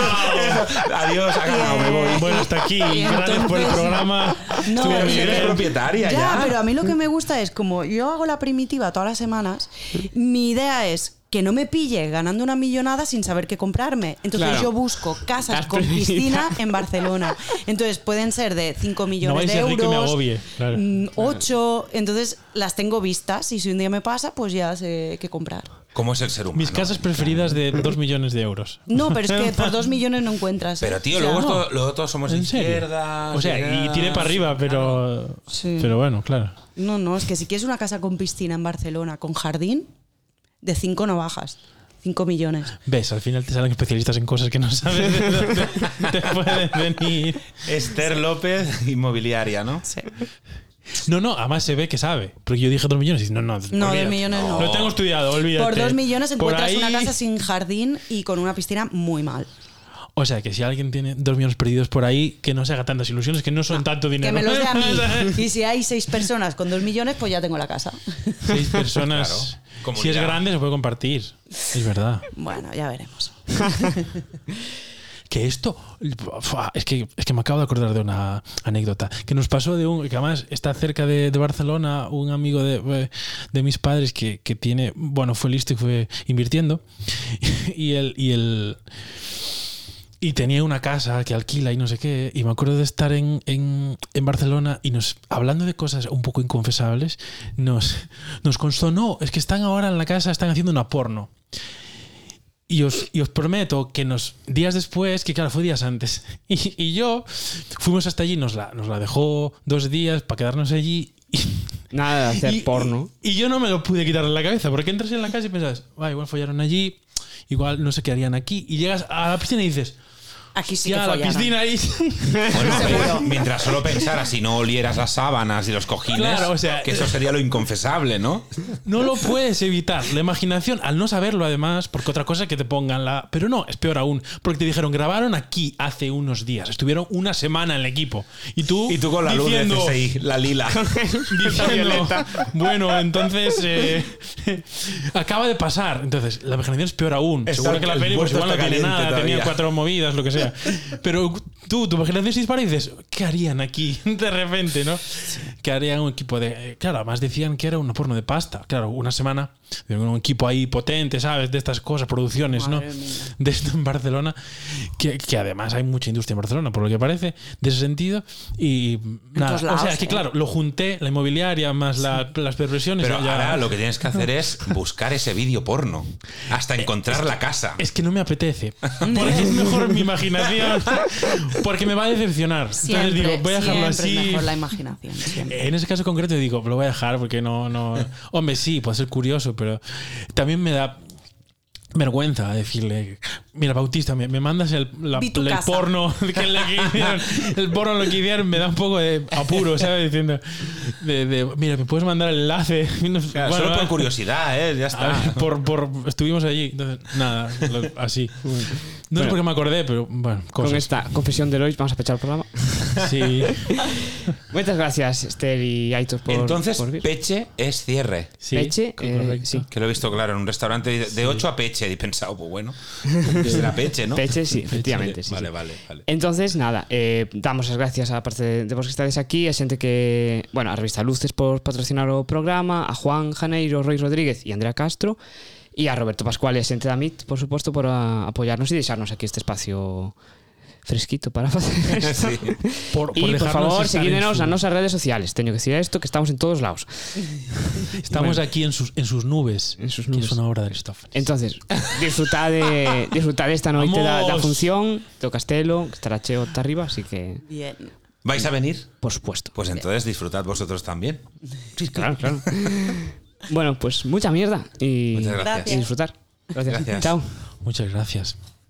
C: Adiós, ha ganado, me voy.
A: Bueno, hasta aquí. Gracias por el
D: entonces-
A: programa.
D: No,
A: Estuvo
C: Pero
A: muy
C: si eres
A: bien.
C: propietaria ya.
D: Ya, pero a mí lo que me gusta es como yo hago la primitiva todas las semanas, mi idea es que no me pille ganando una millonada sin saber qué comprarme. Entonces
B: Claro.
D: yo busco casas
B: Las
D: con
B: primitivas.
D: piscina en Barcelona. Entonces pueden ser de 5
A: No
D: millones
A: vais a
D: de
A: ser rico y me
D: euros,
A: agobie. Claro.
D: mm, ocho, entonces las tengo vistas y si un día me pasa, pues ya sé qué comprar.
C: ¿Cómo es el ser humano?
A: Mis casas preferidas de 2 millones de euros.
D: No, pero es que por dos millones no encuentras. ¿eh?
C: Pero tío,
D: O sea,
C: luego,
D: no.
C: esto- luego todos somos
A: ¿En serio?
C: izquierda...
A: O sea, y tiré para arriba, pero.
D: Sí.
A: Pero bueno, claro.
D: No, no, es que si quieres una casa con piscina en Barcelona, con jardín, de 5 no bajas. 5 millones.
A: Ves, al final te salen especialistas en cosas que no sabes de dónde te pueden venir.
C: Esther López, inmobiliaria, ¿no?
D: Sí.
A: No, no, además se ve que sabe. Porque yo dije dos millones y no, no.
D: No,
A: olvídate.
D: dos millones no.
A: Lo tengo estudiado, olvídate.
D: Por dos millones
A: Por
D: encuentras una
A: ahí-
D: casa sin jardín y con una piscina muy mal.
A: O sea, que si alguien tiene dos millones perdidos por ahí, que no se haga tantas ilusiones, que no son tanto
D: Que
A: dinero.
D: me los dé a mí. Y si hay seis personas con dos millones, pues ya tengo la casa.
A: Seis personas.
C: Claro, comunidad.
A: si es grande, se puede compartir. Es verdad.
D: Bueno, ya veremos.
A: Que esto. fua, Es que, es que me acabo de acordar de una anécdota. Que nos pasó de un. Que además está cerca de, de Barcelona un amigo de, eh, de mis padres que, que tiene. Bueno, fue listo y fue invirtiendo. Y él. Y él y tenía una casa que alquila y no sé qué. Y me acuerdo de estar en, en, en Barcelona y nos, hablando de cosas un poco inconfesables, nos, nos constó, no, es que están ahora en la casa, están haciendo una porno. Y os, y os prometo que nos días después, que claro, fue días antes, y, y yo fuimos hasta allí, nos la, nos la dejó dos días para quedarnos allí. Y,
B: Nada de hacer
A: y-
B: porno.
A: Y yo no me lo pude quitar de la cabeza, porque entras en la casa y piensas, "Ah, igual follaron allí, igual no sé qué harían aquí, y llegas a la piscina y dices,
D: Aquí sí que
A: ya, la
D: follaron.
A: piscina ahí.
C: Bueno, pero mientras solo pensaras si no olieras las sábanas y los cojines,
A: Claro, o sea,
C: que eso sería lo inconfesable, ¿no?
A: No lo puedes evitar. La imaginación, al no saberlo además, porque otra cosa es que te pongan la... Pero no, es peor aún, porque te dijeron, grabaron aquí hace unos días, estuvieron una semana en el equipo. Y tú,
C: Y tú con la
A: diciendo,
C: luz de CSI, la lila.
A: diciendo, Bueno, entonces eh, acaba de pasar. Entonces, la imaginación es peor aún.
C: Está-
A: Seguro que la
C: el
A: peli pues
C: puesto
A: igual no
C: está
A: tiene nada,
C: caliente
A: tenía
C: todavía.
A: cuatro movidas, lo que sea. Pero tú, tu imaginación se dispara y dices, ¿qué harían aquí de repente, no? Que harían un equipo de. eh, Claro, además decían que era una porno de pasta. Claro, una semana de un equipo ahí potente, ¿sabes? De estas cosas, producciones,
D: Madre
A: ¿no?
D: mía.
A: de esto en Barcelona, que, que además hay mucha industria en Barcelona, por lo que parece, de ese sentido. Y nada,
D: todos lados,
A: o sea, que
D: ¿eh?
A: claro, lo junté, la inmobiliaria más la- las perversiones.
C: Pero
A: ¿no? Ya-
C: ahora lo que tienes que hacer es buscar ese vídeo porno hasta encontrar la casa.
A: Eh, Es que no me apetece. Porque es mejor mi imaginación. Porque me va a decepcionar.
D: Siempre,
A: Entonces digo, voy a dejarlo
D: siempre
A: así.
D: es mejor la imaginación. siempre.
A: En ese caso concreto digo, lo voy a dejar porque no, no. Hombre, sí, puede ser curioso, pero también me da vergüenza decirle, mira Bautista, me, me mandas el, la-
D: Vi tu
A: el
D: casa".
A: porno que le que hicieron, el porno lo que hicieron me da un poco de apuro, ¿sabes? Diciendo, de, de, mira, me puedes mandar el enlace. Bueno,
C: Claro,
A: Ah,
C: solo por
A: va.
C: curiosidad, ¿eh? Ya
A: A
C: está.
A: ver, por, por- estuvimos allí, entonces, nada, lo- así. No sé por qué me acordé, pero bueno,
B: Con
A: cosas.
B: esta confesión de Lois vamos a pechar el programa.
A: Sí,
B: Muchas gracias, Esther y Aitor, por,
C: Entonces,
B: por vir.
C: peche es cierre.
A: sí,
B: Peche, eh,
A: correcto.
B: sí.
C: Que lo he visto claro en un restaurante de, 8 a peche. Y he pensado, pues bueno, será peche, ¿no?
B: Peche, sí, efectivamente. sí,
C: Vale,
B: sí.
C: vale, vale.
B: Entón, nada, eh, damos as gracias á parte de, de vos que estades aquí, a xente que, bueno, a revista Luces por patrocinar o programa, a Juan Janeiro, Roy Rodríguez e Andrea Castro, e a Roberto Pascual e a xente da MIT, por suposto, por a, apoyarnos e deixarnos aquí este espacio fresquito para facer esto.
C: Sí.
A: Por- por
B: e, por
A: dejarnos
B: favor,
A: estar en
B: seguídenos
A: su-
B: nas nosas redes sociales. Teño que decir esto, que estamos en todos lados.
A: Estamos
B: Bueno.
A: aquí en sus, en sus nubes,
B: En sus
A: que
B: nubes.
A: es una obra de Aristófanes.
B: Entonces, disfrutade, disfrutade esta noite da,
A: Vamos.
B: da función do Castelo, que estará cheo hasta arriba, así que,
D: Bien.
C: ¿Vais a venir?
B: por supuesto.
C: Pues entonces disfrutad vosotros también.
B: Sí, claro, claro. bueno, pues mucha mierda y,
C: Muchas gracias.
B: y disfrutar. Gracias.
C: Gracias.
B: Chao.
A: Muchas gracias.